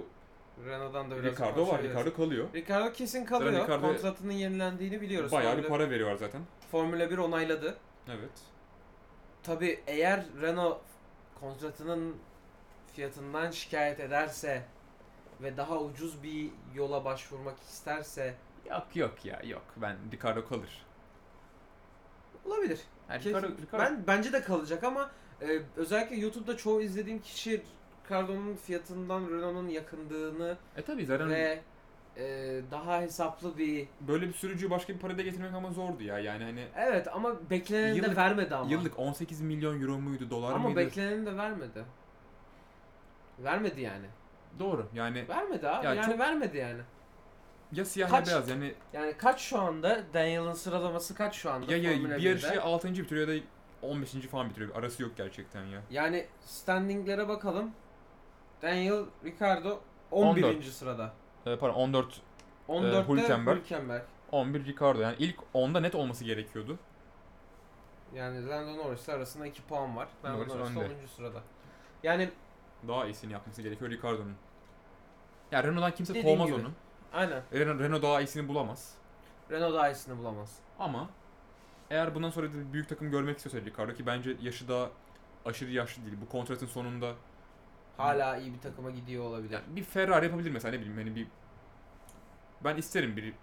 Speaker 1: Renault'dan da biraz şey
Speaker 2: Ricardo var.
Speaker 1: konuşabiliriz.
Speaker 2: Ricardo kalıyor.
Speaker 1: Ricardo kesin kalıyor.
Speaker 2: Ricardo-
Speaker 1: Kontratının yenilendiğini biliyoruz.
Speaker 2: Bayağı bir
Speaker 1: Formula-
Speaker 2: para veriyor zaten.
Speaker 1: Formula 1 onayladı.
Speaker 2: Evet.
Speaker 1: Tabi eğer Renault kontratının fiyatından şikayet ederse ve daha ucuz bir yola başvurmak isterse
Speaker 2: Yok yok ya yok. Ben Ricardo kalır.
Speaker 1: olabilir.
Speaker 2: Yani
Speaker 1: Kesin.
Speaker 2: Ricardo, Ricardo-
Speaker 1: Ben bence de kalacak ama e, özellikle YouTube'da çoğu izlediğim kişi Ricardo'nun fiyatından Renault'un yakındığını
Speaker 2: E tabii zaten
Speaker 1: ve e, daha hesaplı bir
Speaker 2: böyle bir sürücüyü başka bir parada getirmek ama zordu ya. Yani hani
Speaker 1: evet ama bekleneni de
Speaker 2: Yıllık-
Speaker 1: vermedi ama.
Speaker 2: yıllık 18 milyon euro muydu, dolar
Speaker 1: ama
Speaker 2: mıydı?
Speaker 1: bekleneni de vermedi. Vermedi yani.
Speaker 2: Doğru. Yani
Speaker 1: Vermedi abi.
Speaker 2: Ya
Speaker 1: yani
Speaker 2: çok-
Speaker 1: vermedi yani.
Speaker 2: ya siyah
Speaker 1: Kaç-
Speaker 2: ya beyaz. Yani
Speaker 1: Yani kaç şu anda? Daniel'ın sıralaması kaç şu anda?
Speaker 2: ya, ya
Speaker 1: Formula
Speaker 2: bir
Speaker 1: 1'de?
Speaker 2: yarışı 6. bitiriyor ya da 15. falan bitiriyor. Arası yok gerçekten ya.
Speaker 1: Yani standinglere bakalım. Daniel, Ricardo 11.
Speaker 2: 14.
Speaker 1: sırada.
Speaker 2: E, pardon 14
Speaker 1: 14'te
Speaker 2: Hülkenberg.
Speaker 1: Hülkenberg.
Speaker 2: 11 Ricardo. Yani ilk 10'da net olması gerekiyordu.
Speaker 1: Yani Lando Norris'le arasında 2 puan var. Lando
Speaker 2: Norris
Speaker 1: Norris de
Speaker 2: önde.
Speaker 1: 10. sırada. Yani
Speaker 2: Daha iyisini yapması gerekiyor Ricardo'nun. Ya Renault'dan kimse
Speaker 1: Dediğim
Speaker 2: kovmaz
Speaker 1: gibi.
Speaker 2: onu. E,
Speaker 1: aynen.
Speaker 2: Renault, Renault daha iyisini bulamaz.
Speaker 1: Renault daha iyisini bulamaz.
Speaker 2: Ama eğer bundan sonra da büyük takım görmek istiyorsa Ricardo ki bence yaşı da aşırı yaşlı değil. Bu kontratın sonunda
Speaker 1: Hala iyi bir takıma gidiyor olabilir.
Speaker 2: yani bir Ferrari yapabilir mesela ne bileyim hani bir ben isterim bir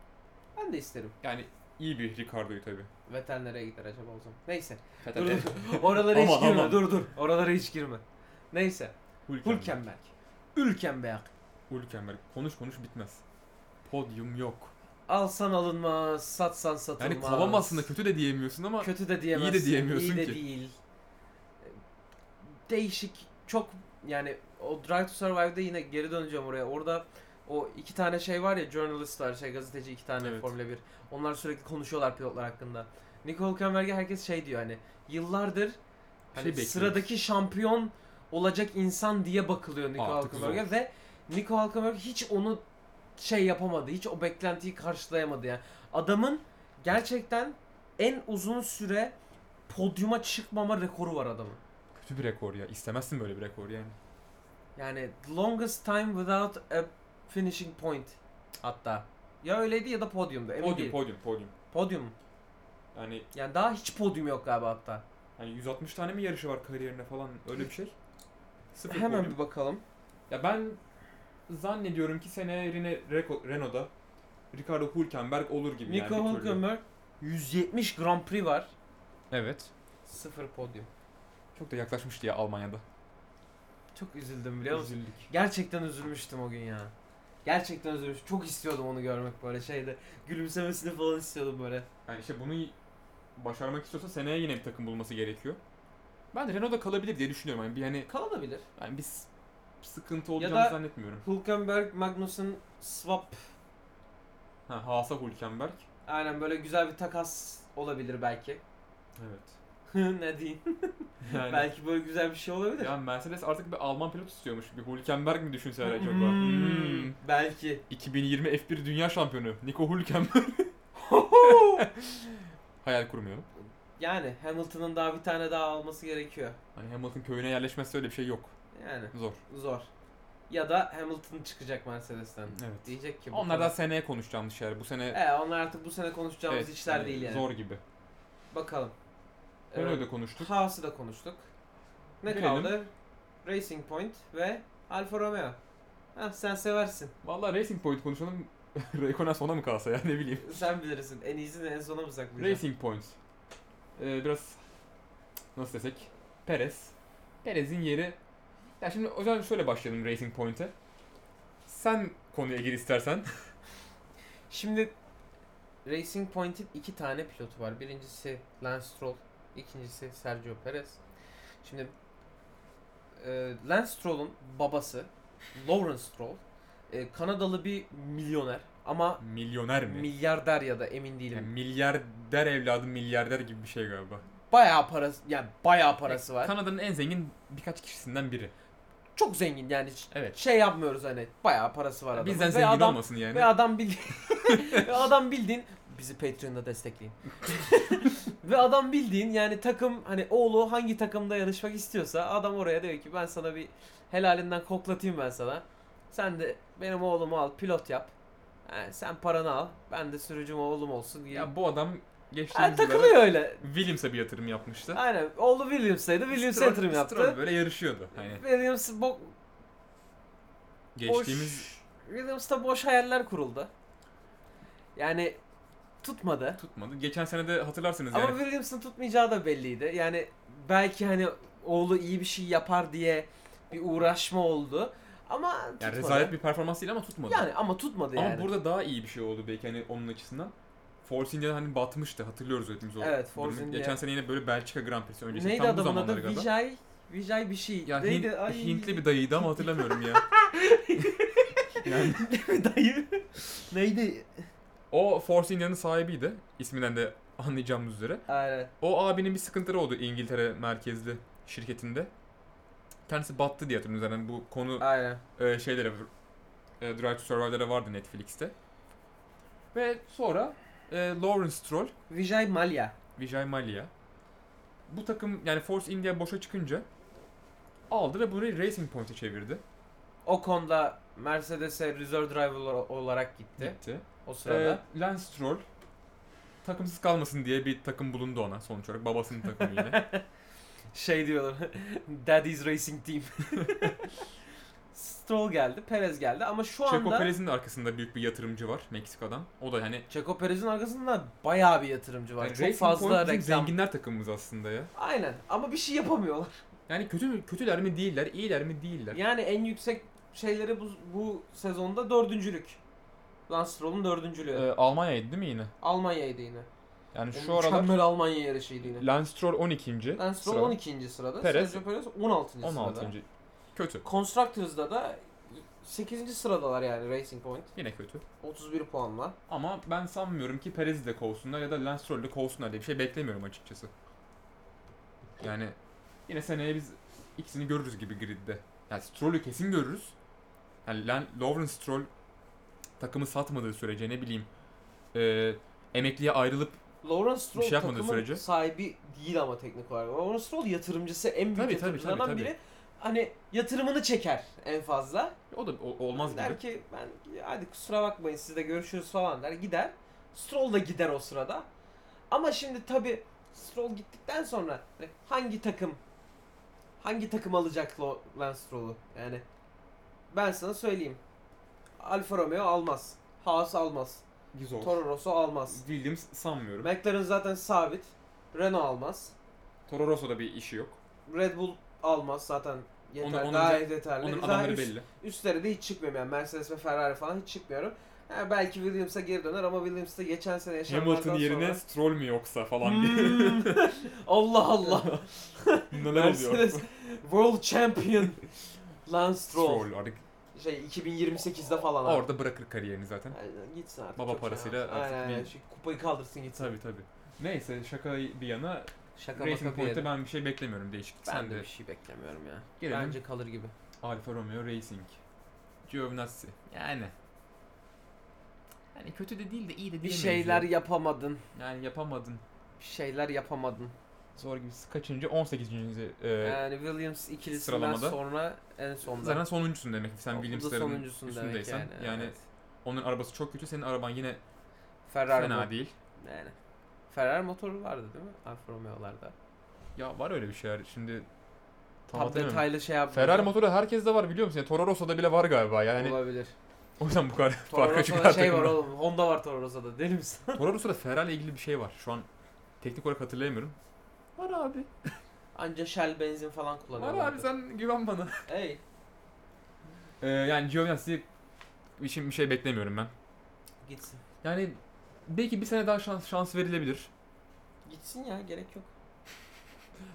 Speaker 1: Ben de isterim.
Speaker 2: yani iyi bir Ricardo'yu tabii.
Speaker 1: Vettel nereye gider acaba o zaman? Neyse.
Speaker 2: Zaten
Speaker 1: Dur dur. Oralara hiç
Speaker 2: Aman,
Speaker 1: girme.
Speaker 2: aman.
Speaker 1: Dur dur. Oralara hiç girme. Neyse.
Speaker 2: Hülkenberg.
Speaker 1: Hülkenberg. Hülkenberg.
Speaker 2: Hülkenberg. Konuş konuş bitmez. Podyum yok.
Speaker 1: Alsan alınmaz, satsan satılmaz.
Speaker 2: Yani kovamazsın da kötü de diyemiyorsun ama
Speaker 1: Kötü de diyemezsin.
Speaker 2: İyi de diyemiyorsun
Speaker 1: iyi de
Speaker 2: ki.
Speaker 1: değil. Değişik, çok yani o Drive to Survive'da yine geri döneceğim oraya. Orada o iki tane şey var ya, journalistler, şey gazeteci iki tane
Speaker 2: Evet.
Speaker 1: Formula 1. Onlar sürekli konuşuyorlar pilotlar hakkında. Nicole Hülkenberg'e herkes şey diyor hani yıllardır hani
Speaker 2: şey bekliyoruz.
Speaker 1: sıradaki şampiyon olacak insan diye bakılıyor Nico
Speaker 2: Artık zor.
Speaker 1: Hülkenberg'e ve Nico Hülkenberg hiç onu şey yapamadı. Hiç o beklentiyi karşılayamadı yani. Adamın gerçekten en uzun süre podyuma çıkmama rekoru var adamın.
Speaker 2: kötü bir rekor ya. İstemezsin böyle bir rekor yani.
Speaker 1: Yani the longest time without a finishing point hatta. Ya öyleydi ya da podyumdu. Emin
Speaker 2: Podyum
Speaker 1: değilim.
Speaker 2: podyum podyum.
Speaker 1: Podyum mu?
Speaker 2: Yani
Speaker 1: Yani daha hiç podyum yok galiba hatta.
Speaker 2: hani 160 tane mi yarışı var kariyerine falan öyle bir şey. Sıfır
Speaker 1: Hemen
Speaker 2: podyum.
Speaker 1: bir bakalım.
Speaker 2: Ya ben zannediyorum ki seneye Rene, Reko- Renault'da Ricardo Hülkenberg olur gibi
Speaker 1: Nico
Speaker 2: yani. bir türlü.
Speaker 1: Hülkenberg 170 Grand Prix var.
Speaker 2: Evet.
Speaker 1: Sıfır podyum.
Speaker 2: Çok da yaklaşmıştı ya Almanya'da.
Speaker 1: Çok üzüldüm biliyor musun?
Speaker 2: Üzüldük.
Speaker 1: Gerçekten üzülmüştüm o gün ya. Gerçekten üzülmüş. Çok istiyordum onu görmek böyle şeyde. Gülümsemesini falan istiyordum böyle.
Speaker 2: Yani işte bunu başarmak istiyorsa seneye yine bir takım bulması gerekiyor. Ben de Renault'da kalabilir diye düşünüyorum. Yani bir hani
Speaker 1: Kalabilir.
Speaker 2: yani bir s- sıkıntı olacağını
Speaker 1: da-
Speaker 2: zannetmiyorum.
Speaker 1: Hülkenberg, Magnussen, swap.
Speaker 2: Ha, Haas'a Hülkenberg.
Speaker 1: Aynen böyle güzel bir takas olabilir belki.
Speaker 2: Evet.
Speaker 1: ne diyeyim?
Speaker 2: Yani,
Speaker 1: Belki böyle güzel bir şey olabilir.
Speaker 2: ya Mercedes artık bir Alman pilot istiyormuş. Bir Hülkenberg mi düşünseler acaba?
Speaker 1: Hmm,
Speaker 2: Hmm.
Speaker 1: Belki.
Speaker 2: 2020 F1 Dünya Şampiyonu Nico Hülkenberg. Hayal kurmuyorum.
Speaker 1: yani Hamilton'ın daha bir tane daha alması gerekiyor.
Speaker 2: Hani Hamilton köyüne yerleşmesi öyle bir şey yok.
Speaker 1: Yani
Speaker 2: Zor.
Speaker 1: zor. Ya da Hamilton çıkacak Mercedes'ten.
Speaker 2: Evet.
Speaker 1: Diyecek ki bu
Speaker 2: Onlar daha
Speaker 1: kadar-
Speaker 2: E, seneye konuşacağımız şeyler. Bu sene
Speaker 1: Ee, onlar artık bu sene konuşacağımız
Speaker 2: evet,
Speaker 1: işler
Speaker 2: hani
Speaker 1: değil yani.
Speaker 2: Zor gibi.
Speaker 1: Bakalım.
Speaker 2: Renault'u da konuştuk.
Speaker 1: Haas'ı da konuştuk. Ne
Speaker 2: Gelelim.
Speaker 1: kaldı? Racing Point ve Alfa Romeo. Hah sen seversin.
Speaker 2: Vallahi Racing Point konuşalım. Raikkonen sona mı kalsa ya ne bileyim.
Speaker 1: Sen bilirsin. En iyisini en sona mı saklayacaksın?
Speaker 2: Racing Point. Ee, biraz nasıl desek? Perez. Perez'in yeri. Ya şimdi o zaman şöyle başlayalım Racing Point'e. Sen konuya gir istersen.
Speaker 1: Şimdi Racing Point'in iki tane pilotu var. Birincisi Lance Stroll, ikincisi Sergio Perez. Şimdi e, Lance Stroll'un babası Lawrence Stroll e, Kanadalı bir milyoner. Ama
Speaker 2: Milyoner mi?
Speaker 1: milyarder ya da emin
Speaker 2: Yani
Speaker 1: değilim.
Speaker 2: milyarder evladı milyarder gibi bir şey galiba.
Speaker 1: Bayağı parası yani bayağı parası var.
Speaker 2: Kanada'nın en zengin birkaç kişisinden biri.
Speaker 1: Çok zengin yani. hiç
Speaker 2: Evet.
Speaker 1: Şey yapmıyoruz hani. Bayağı parası var adamın.
Speaker 2: Bizden
Speaker 1: Ve
Speaker 2: zengin
Speaker 1: adam-
Speaker 2: olmasın yani.
Speaker 1: Ve adam bildiğin ve adam bildiğin bizi Patreon'da destekleyin. ve adam bildiğin yani takım hani oğlu hangi takımda yarışmak istiyorsa adam oraya diyor ki ben sana bir helalinden koklatayım ben sana. Sen de benim oğlumu al pilot yap. Yani sen paranı al. Ben de sürücüm oğlum olsun. diye.
Speaker 2: Ya bu adam
Speaker 1: Yani
Speaker 2: geçtiğimiz yıllarda
Speaker 1: takılıyor öyle.
Speaker 2: Williams'a bir yatırım yapmıştı.
Speaker 1: Aynen. Oğlu Williams'taydı. Williams yatırım
Speaker 2: Stroll-
Speaker 1: yaptı.
Speaker 2: Stroll böyle yarışıyordu. Hani
Speaker 1: Williams bo-
Speaker 2: geçtiğimiz
Speaker 1: boş... Williams'ta boş hayaller kuruldu. Yani tutmadı.
Speaker 2: tutmadı. Geçen sene de hatırlarsınız
Speaker 1: Ama
Speaker 2: yani.
Speaker 1: Williams'ın tutmayacağı da belliydi. Yani belki hani oğlu iyi bir şey yapar diye bir uğraşma oldu. Ama tutmadı.
Speaker 2: Yani rezalet bir performans değil ama tutmadı.
Speaker 1: Yani ama tutmadı
Speaker 2: ama
Speaker 1: yani.
Speaker 2: burada daha iyi bir şey oldu belki hani onun açısından. Force India hani batmıştı hatırlıyoruz hepimiz o.
Speaker 1: Evet, Force
Speaker 2: durumu.
Speaker 1: India.
Speaker 2: Geçen sene yine böyle Belçika Grand Prix'si öncesi
Speaker 1: Neydi
Speaker 2: tam bu
Speaker 1: adamın
Speaker 2: zamanlara
Speaker 1: adı?
Speaker 2: kadar.
Speaker 1: Vijay, Vijay bir şey.
Speaker 2: Ya
Speaker 1: Neydi?
Speaker 2: Hint-
Speaker 1: Ay.
Speaker 2: Hintli bir dayıydı ama hatırlamıyorum ya. yani
Speaker 1: dayı. Neydi?
Speaker 2: o Force India'nın sahibiydi. İsminden de anlayacağımız üzere.
Speaker 1: Aynen.
Speaker 2: O abinin bir sıkıntıları oldu İngiltere merkezli şirketinde. Kendisi battı diye hatırlıyorum zaten bu konu
Speaker 1: Aynen.
Speaker 2: e, şeylere e, Drive to Survive'lere vardı Netflix'te. Ve sonra e, Lawrence Stroll,
Speaker 1: Vijay Malia.
Speaker 2: Vijay Malia bu takım yani Force India boşa çıkınca aldı ve burayı Racing Point'e çevirdi.
Speaker 1: O konuda Mercedes'e reserve driver olarak gitti
Speaker 2: Gitti.
Speaker 1: o sırada.
Speaker 2: E, Lance Stroll takımsız kalmasın diye bir takım bulundu ona sonuç olarak. Babasının takımı yine.
Speaker 1: Şey diyorlar. Daddy's Racing Team. Stroll geldi, Perez geldi ama şu
Speaker 2: Checo
Speaker 1: anda
Speaker 2: Perez'in de arkasında büyük bir yatırımcı var Meksika'dan. O da hani
Speaker 1: Checo Perez'in arkasında bayağı bir yatırımcı var.
Speaker 2: yani
Speaker 1: Çok
Speaker 2: Racing
Speaker 1: fazla
Speaker 2: Point bizim
Speaker 1: reklam.
Speaker 2: zenginler takımımız aslında ya.
Speaker 1: Aynen ama bir şey yapamıyorlar.
Speaker 2: Yani kötü mü- kötüler mi değiller, iyiler mi değiller.
Speaker 1: Yani en yüksek şeyleri bu, bu sezonda dördüncülük. Lance Stroll'un dördüncülüğü.
Speaker 2: E, Almanya'ydı değil mi yine?
Speaker 1: Almanya'ydı yine.
Speaker 2: Yani şu
Speaker 1: Onun
Speaker 2: aralar
Speaker 1: Mükemmel Almanya yarışıydı yine.
Speaker 2: Lance Stroll 12.
Speaker 1: Lance Stroll
Speaker 2: sırada.
Speaker 1: 12. sırada.
Speaker 2: Perez-
Speaker 1: Sergio Perez 16. sırada.
Speaker 2: 16. Kötü.
Speaker 1: Constructors'da da 8. sıradalar yani Racing Point.
Speaker 2: Yine kötü.
Speaker 1: 31 puanla.
Speaker 2: Ama ben sanmıyorum ki Perez'i de kovsunlar ya da Lance Stroll'ü de kovsunlar diye bir şey beklemiyorum açıkçası. Yani yine seneye biz ikisini görürüz gibi gridde. Yani Stroll'ü kesin görürüz. Yani Lan- Lawrence Stroll takımı satmadığı sürece ne bileyim e, emekliye ayrılıp
Speaker 1: Lawrence
Speaker 2: Bir
Speaker 1: Stroll
Speaker 2: şey yapmadığı
Speaker 1: takımın
Speaker 2: sürece.
Speaker 1: sahibi değil ama teknik olarak. Lawrence Stroll yatırımcısı en büyük
Speaker 2: Tabii, tabii,
Speaker 1: yatırımcılardan
Speaker 2: tabii, tabii.
Speaker 1: biri. Hani yatırımını çeker en fazla.
Speaker 2: o da o- olmaz gibi.
Speaker 1: der ki ben "Ya hadi kusura bakmayın sizle görüşürüz falan der. Gider. Stroll da gider o sırada. Ama şimdi tabi Stroll gittikten sonra hani hangi takım hangi takım alacak Lo- Lance Stroll'u? Yani ben sana söyleyeyim. Alfa Romeo almaz. Haas almaz.
Speaker 2: Zor.
Speaker 1: Toro Rosso almaz.
Speaker 2: Williams sanmıyorum.
Speaker 1: McLaren zaten sabit. Renault almaz.
Speaker 2: Toro Rosso'da bir işi yok.
Speaker 1: Red Bull almaz zaten yeterli.
Speaker 2: Onun- onun
Speaker 1: daha
Speaker 2: özel-
Speaker 1: yeterli.
Speaker 2: Onun
Speaker 1: Zaten
Speaker 2: adamları
Speaker 1: üst-
Speaker 2: belli.
Speaker 1: Üstlere de hiç çıkmıyorum yani Mercedes ve Ferrari falan hiç çıkmıyorum. Ha, belki Williams'a geri döner ama Williams'ta geçen sene yaşananlardan
Speaker 2: Hamilton yerine
Speaker 1: sonra...
Speaker 2: Stroll mü yoksa falan diye.
Speaker 1: Hmm. Allah Allah.
Speaker 2: Neler oluyor?
Speaker 1: Mercedes World Champion Lance Stroll.
Speaker 2: Stroll artık
Speaker 1: Şey 2028'de falan. abi.
Speaker 2: orada bırakır kariyerini zaten.
Speaker 1: Aynen, gitsin artık.
Speaker 2: Baba
Speaker 1: çok şey
Speaker 2: parasıyla
Speaker 1: yapmaz.
Speaker 2: artık
Speaker 1: Aynen,
Speaker 2: bir-
Speaker 1: aynen. Şu kupayı kaldırsın gitsin.
Speaker 2: Tabi tabi. Neyse şaka bir yana
Speaker 1: Şaka
Speaker 2: Racing
Speaker 1: maka bir
Speaker 2: Point'te
Speaker 1: yere.
Speaker 2: ben bir şey beklemiyorum değişiklik.
Speaker 1: Ben
Speaker 2: Sen
Speaker 1: de
Speaker 2: de
Speaker 1: bir şey beklemiyorum ya.
Speaker 2: Gelelim.
Speaker 1: Bence kalır gibi.
Speaker 2: Alfa Romeo Racing. Giovinazzi. Yani.
Speaker 3: hani
Speaker 2: Yani kötü de değil de iyi de
Speaker 1: Bir
Speaker 2: diyemeyiz
Speaker 1: şeyler
Speaker 2: ya.
Speaker 1: yapamadın.
Speaker 2: Yani yapamadın.
Speaker 1: Bir şeyler yapamadın.
Speaker 2: Zor gibisi. Kaçıncı? 18. E,
Speaker 1: Yani Williams ikilisinden
Speaker 2: sıralamada.
Speaker 1: sonra en sonda.
Speaker 2: zaten sonuncusun demek. ki. Sen
Speaker 1: O da
Speaker 2: Williams'ların
Speaker 1: sonuncusun demek
Speaker 2: üstündeysen.
Speaker 1: yani,
Speaker 2: Yani,
Speaker 1: evet.
Speaker 2: onun arabası çok kötü. Senin araban yine
Speaker 1: Ferrari
Speaker 2: fena
Speaker 1: mo-
Speaker 2: değil.
Speaker 1: Yani. Ferrari motoru vardı değil mi? Alfa Romeo'larda.
Speaker 2: Ya var öyle bir şeyler. Şimdi
Speaker 1: Tam,
Speaker 2: tam, hatırlamıyorum.
Speaker 1: detaylı şey yapmadım.
Speaker 2: Ferrari motoru herkeste var biliyor musun? Yani Toro Rosso'da bile var galiba. Yani
Speaker 1: olabilir.
Speaker 2: o yüzden bu kadar
Speaker 1: Toro
Speaker 2: farka
Speaker 1: Rosso'da
Speaker 2: çıkar
Speaker 1: şey var
Speaker 2: takımlar.
Speaker 1: oğlum. Honda var Toro Rosso'da. Deli misin?
Speaker 2: Toro Rosso'da Ferrari ile ilgili bir şey var. Şu an teknik olarak hatırlayamıyorum. Var abi.
Speaker 1: Anca Shell benzin falan
Speaker 2: Var
Speaker 1: kullanıyorlar.
Speaker 2: abi sen güven bana.
Speaker 1: Hey.
Speaker 2: Ee, yani Giovinazzi için bir şey beklemiyorum ben.
Speaker 1: Gitsin.
Speaker 2: Yani belki bir sene daha şans şans verilebilir.
Speaker 1: Gitsin ya gerek yok.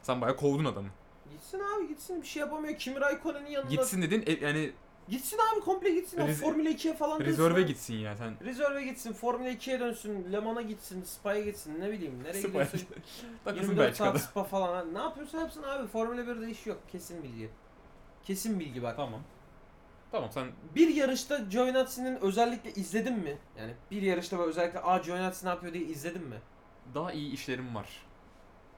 Speaker 2: Sen bayağı kovdun adamı.
Speaker 1: Gitsin abi gitsin. Bir şey yapamıyor. Kimi Raikkonen'in yanında.
Speaker 2: Gitsin dedin e, yani
Speaker 1: Gitsin abi komple gitsin. O
Speaker 2: Riz-
Speaker 1: Formula 2'ye falan dönsün.
Speaker 2: Rezerve
Speaker 1: abi.
Speaker 2: gitsin ya sen.
Speaker 1: Rezerve gitsin, Formula 2'ye dönsün, Le Mans'a gitsin, Spa'ya gitsin, ne bileyim nereye
Speaker 2: Spa'ya
Speaker 1: gidiyorsa
Speaker 2: gitsin. Takılsın
Speaker 1: 24 saat
Speaker 2: Belçika'da.
Speaker 1: Spa falan. ha. Ne yapıyorsa yapsın abi. Formula 1'de iş yok. Kesin bilgi. Kesin bilgi bak.
Speaker 2: Tamam. Tamam sen
Speaker 1: Bir yarışta Giovinazzi'nin özellikle izledin mi? Yani bir yarışta böyle özellikle a Giovinazzi ne yapıyor diye izledin mi?
Speaker 2: daha iyi işlerim var.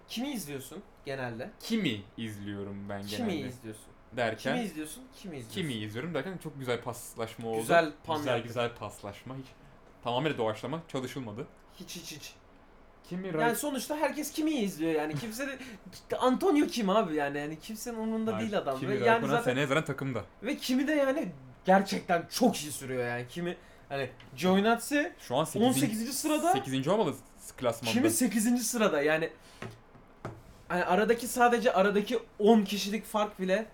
Speaker 1: Kimi izliyorsun genelde?
Speaker 2: Kimi izliyorum ben
Speaker 1: Kimi
Speaker 2: genelde
Speaker 1: izliyorsun?
Speaker 2: derken.
Speaker 1: Kimi
Speaker 2: Kimi,
Speaker 1: izliyorsun? Kimi izliyorsun?
Speaker 2: izliyorum derken çok güzel paslaşma oldu.
Speaker 1: Güzel pan
Speaker 2: güzel,
Speaker 1: yaptık.
Speaker 2: güzel paslaşma. Hiç, tamamıyla doğaçlama çalışılmadı.
Speaker 1: Hiç hiç hiç.
Speaker 2: Kimi
Speaker 1: Yani sonuçta herkes kimi izliyor yani. Kimse de Antonio kim abi yani? Yani kimsenin umurunda değil adam.
Speaker 2: Kimi
Speaker 1: Ve yani
Speaker 2: Raikkonen
Speaker 1: zaten
Speaker 2: seneye zaten takımda.
Speaker 1: ve kimi de yani gerçekten çok iyi sürüyor yani. Kimi hani Giovinazzi
Speaker 2: Şu an 8.
Speaker 1: 18. sırada
Speaker 2: 8. olmalı klasmanda.
Speaker 1: Kimi 8. sırada yani hani aradaki sadece aradaki 10 kişilik fark bile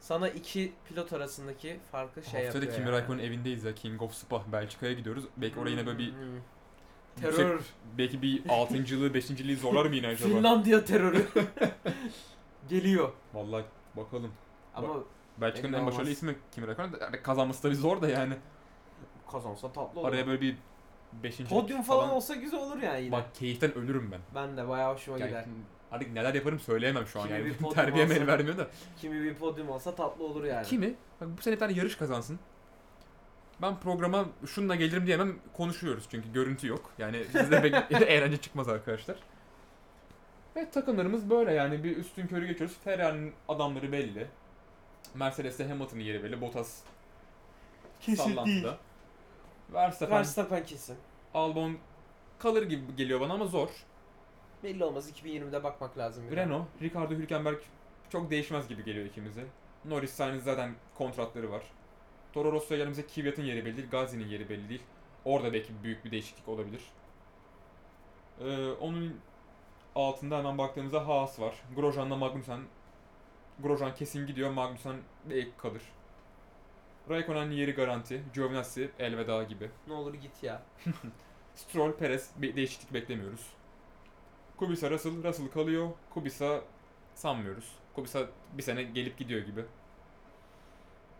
Speaker 1: sana iki pilot arasındaki farkı şey
Speaker 2: Haftaya da
Speaker 1: yapıyor.
Speaker 2: Kimi
Speaker 1: yani.
Speaker 2: Raikkonen'in evindeyiz ya. King of Spa. Belçika'ya gidiyoruz. Belki oraya yine böyle bir...
Speaker 1: Hmm.
Speaker 2: yüksek-
Speaker 1: terör
Speaker 2: belki bir şey 6.lığı 5.liği zorlar mı yine acaba?
Speaker 1: Finlandiya terörü geliyor.
Speaker 2: Vallahi bakalım.
Speaker 1: Ama
Speaker 2: Belçika'nın
Speaker 1: Belli
Speaker 2: en başarılı
Speaker 1: olmaz.
Speaker 2: ismi Kimi Raikkonen. Yani Kazanması tabii zor da yani.
Speaker 1: kazansa tatlı olur.
Speaker 2: Araya böyle bir 5.
Speaker 1: Podyum falan olsa güzel olur yani yine.
Speaker 2: Bak keyiften ölürüm ben.
Speaker 1: Ben de bayağı hoşuma
Speaker 2: Yani
Speaker 1: gider.
Speaker 2: artık neler yaparım söyleyemem şu an
Speaker 1: Kimi bir
Speaker 2: yani.
Speaker 1: podyum
Speaker 2: Terbiyem el
Speaker 1: alsa-
Speaker 2: vermiyor da.
Speaker 1: Kimi bir podyum olsa tatlı olur yani.
Speaker 2: Kimi? Bak bu sene bir tane yarış kazansın. Ben programa şununla gelirim diyemem konuşuyoruz çünkü görüntü yok. Yani bizde bek- eğlence çıkmaz arkadaşlar. Ve takımlarımız böyle yani bir üstün körü geçiyoruz. Ferrari'nin adamları belli. Mercedes'te Hamilton'ın yeri belli. Bottas
Speaker 1: Kesin değil.
Speaker 2: sallantıda. Verstappen,
Speaker 1: Verstappen kesin.
Speaker 2: Albon kalır gibi geliyor bana ama zor.
Speaker 1: Belli olmaz 2020'de bakmak lazım. yine.
Speaker 2: Renault, Ricardo Hülkenberg çok değişmez gibi geliyor ikimize. Norris Sainz zaten kontratları var. Toro Rosso'ya gelmemize Kvyat'ın yeri belli değil, Gazi'nin yeri belli değil. Orada belki büyük bir değişiklik olabilir. Ee, onun altında hemen baktığımızda Haas var. Grosjean'la Magnussen. Grosjean kesin gidiyor, Magnussen belki kalır. Raikkonen'in yeri garanti. Giovinazzi elveda gibi.
Speaker 1: Ne olur git ya.
Speaker 2: Stroll, Perez bir değişiklik beklemiyoruz. Kubica, Russell, Russell kalıyor. Kubica sanmıyoruz. Kubica bir sene gelip gidiyor gibi.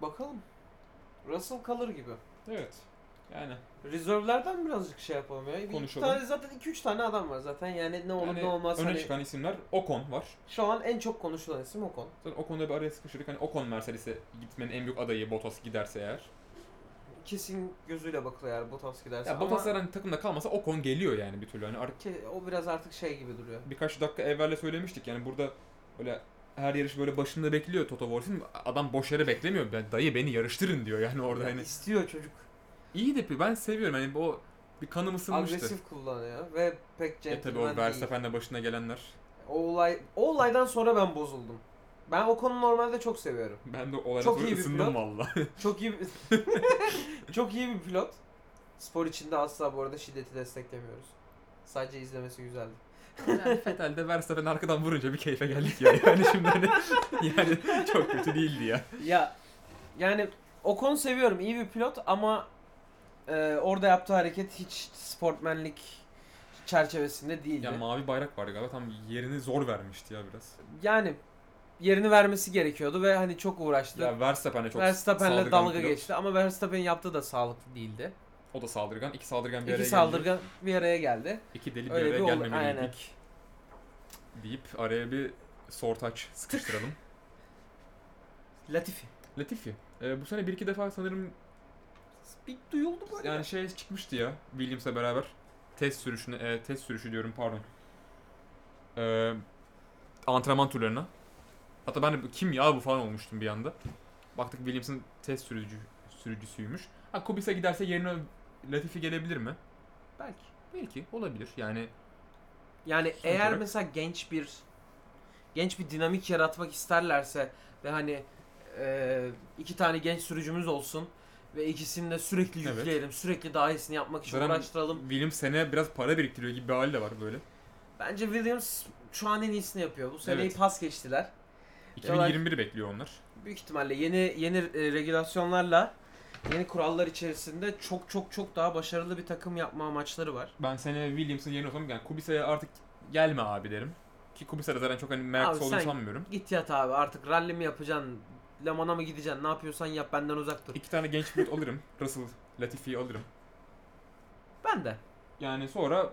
Speaker 1: Bakalım. Russell kalır gibi.
Speaker 2: Evet. Yani
Speaker 1: Rezervlerden birazcık şey yapalım ya. Bir iki
Speaker 2: Konuşalım.
Speaker 1: Tane, zaten 2-3 tane adam var zaten yani ne olur
Speaker 2: yani
Speaker 1: ne olmaz.
Speaker 2: öne
Speaker 1: Hani
Speaker 2: çıkan isimler Ocon var.
Speaker 1: Şu an en çok konuşulan isim Ocon.
Speaker 2: Zaten Ocon'da bir araya sıkışırdık. Hani Ocon Mercedes'e gitmenin en büyük adayı Bottas giderse eğer.
Speaker 1: Kesin gözüyle bakılıyor eğer Bottas giderse.
Speaker 2: Ya
Speaker 1: Ama
Speaker 2: Bottas zaten takımda kalmasa Ocon geliyor yani bir türlü. Hani ar-
Speaker 1: ke- o biraz artık şey gibi duruyor.
Speaker 2: birkaç dakika evvel de söylemiştik yani burada öyle her yarış böyle başında bekliyor Toto Wolff'in. Adam boş yere beklemiyor. Ben, dayı beni yarıştırın diyor yani orada
Speaker 1: Ya
Speaker 2: hani.
Speaker 1: İstiyor çocuk.
Speaker 2: İyi de ben seviyorum hani o bir kanım ısınmıştı.
Speaker 1: Agresif kullanıyor ve pek
Speaker 2: E tabi
Speaker 1: centilmen
Speaker 2: o
Speaker 1: değil.
Speaker 2: Verstappen'le başına gelenler.
Speaker 1: O olay o olaydan sonra ben bozuldum. Ben Ocon'u normalde çok seviyorum.
Speaker 2: Ben de olayla
Speaker 1: Çok
Speaker 2: sonra
Speaker 1: iyi bir
Speaker 2: ısındım
Speaker 1: pilot.
Speaker 2: valla.
Speaker 1: Çok iyi bir- çok iyi bir pilot. Spor içinde asla bu arada şiddeti desteklemiyoruz. Sadece izlemesi güzeldi.
Speaker 2: Yani Fetel'de Verstappen arkadan vurunca bir keyfe geldik ya. Yani şimdi hani yani çok kötü değildi ya.
Speaker 1: Ya yani Ocon seviyorum iyi bir pilot ama e, orada yaptığı hareket hiç sportmenlik çerçevesinde değildi.
Speaker 2: Ya mavi bayrak vardı galiba tam yerini zor vermişti ya biraz.
Speaker 1: yani yerini vermesi gerekiyordu ve hani çok uğraştı.
Speaker 2: Ya Verstappen'le çok
Speaker 1: Verstappen'le
Speaker 2: saldırgan
Speaker 1: dalga
Speaker 2: pilot.
Speaker 1: geçti ama Verstappen'in yaptığı da sağlıklı değildi.
Speaker 2: O da saldırgan. İki saldırgan bir araya
Speaker 1: İki
Speaker 2: geldi.
Speaker 1: saldırgan bir araya geldi.
Speaker 2: İki deli bir
Speaker 1: Öyle
Speaker 2: araya
Speaker 1: bir olay- aynen.
Speaker 2: gelmemeliydik. Deyip araya bir sortaç sıkıştıralım.
Speaker 1: Latifi.
Speaker 2: Latifi. e, bu sene bir iki defa sanırım
Speaker 1: Bir duyuldu böyle.
Speaker 2: Yani şey çıkmıştı ya Williams'la beraber test sürüşüne e, test sürüşü diyorum pardon. Ee, antrenman turlarına. Hatta ben de kim ya bu falan olmuştum bir anda. Baktık Williams'ın test sürücü sürücüsüymüş. Ha Kubica giderse yerine Latifi gelebilir mi?
Speaker 1: belki.
Speaker 2: Belki olabilir. Yani
Speaker 1: Yani eğer
Speaker 2: olarak-
Speaker 1: mesela genç bir genç bir dinamik yaratmak isterlerse ve hani e, iki tane genç sürücümüz olsun ve ikisini de sürekli
Speaker 2: Evet.
Speaker 1: yükleyelim, sürekli daha iyisini yapmak için
Speaker 2: Zaten-
Speaker 1: uğraştıralım.
Speaker 2: Williams seneye biraz para biriktiriyor gibi bir hali de var böyle.
Speaker 1: Bence Williams şu an en iyisini yapıyor. Bu seneyi
Speaker 2: Evet.
Speaker 1: pas geçtiler.
Speaker 2: 2021'i bekliyor onlar.
Speaker 1: Büyük ihtimalle yeni yeni e, regülasyonlarla yeni kurallar içerisinde çok çok çok daha başarılı bir takım yapma amaçları var.
Speaker 2: Ben seneye Williams'ın yerine olsam yani Kubica'ya artık gelme abi derim. Ki Kubica'da zaten çok hani merak
Speaker 1: Abi
Speaker 2: olduğunu
Speaker 1: sen-
Speaker 2: sanmıyorum.
Speaker 1: Git yat abi artık rally mi yapacaksın, Le Mans'a mı gideceksin? Ne yapıyorsan yap benden uzak dur.
Speaker 2: İki tane genç pilot alırım. Russell, Latifi'yi alırım.
Speaker 1: Ben de.
Speaker 2: Yani sonra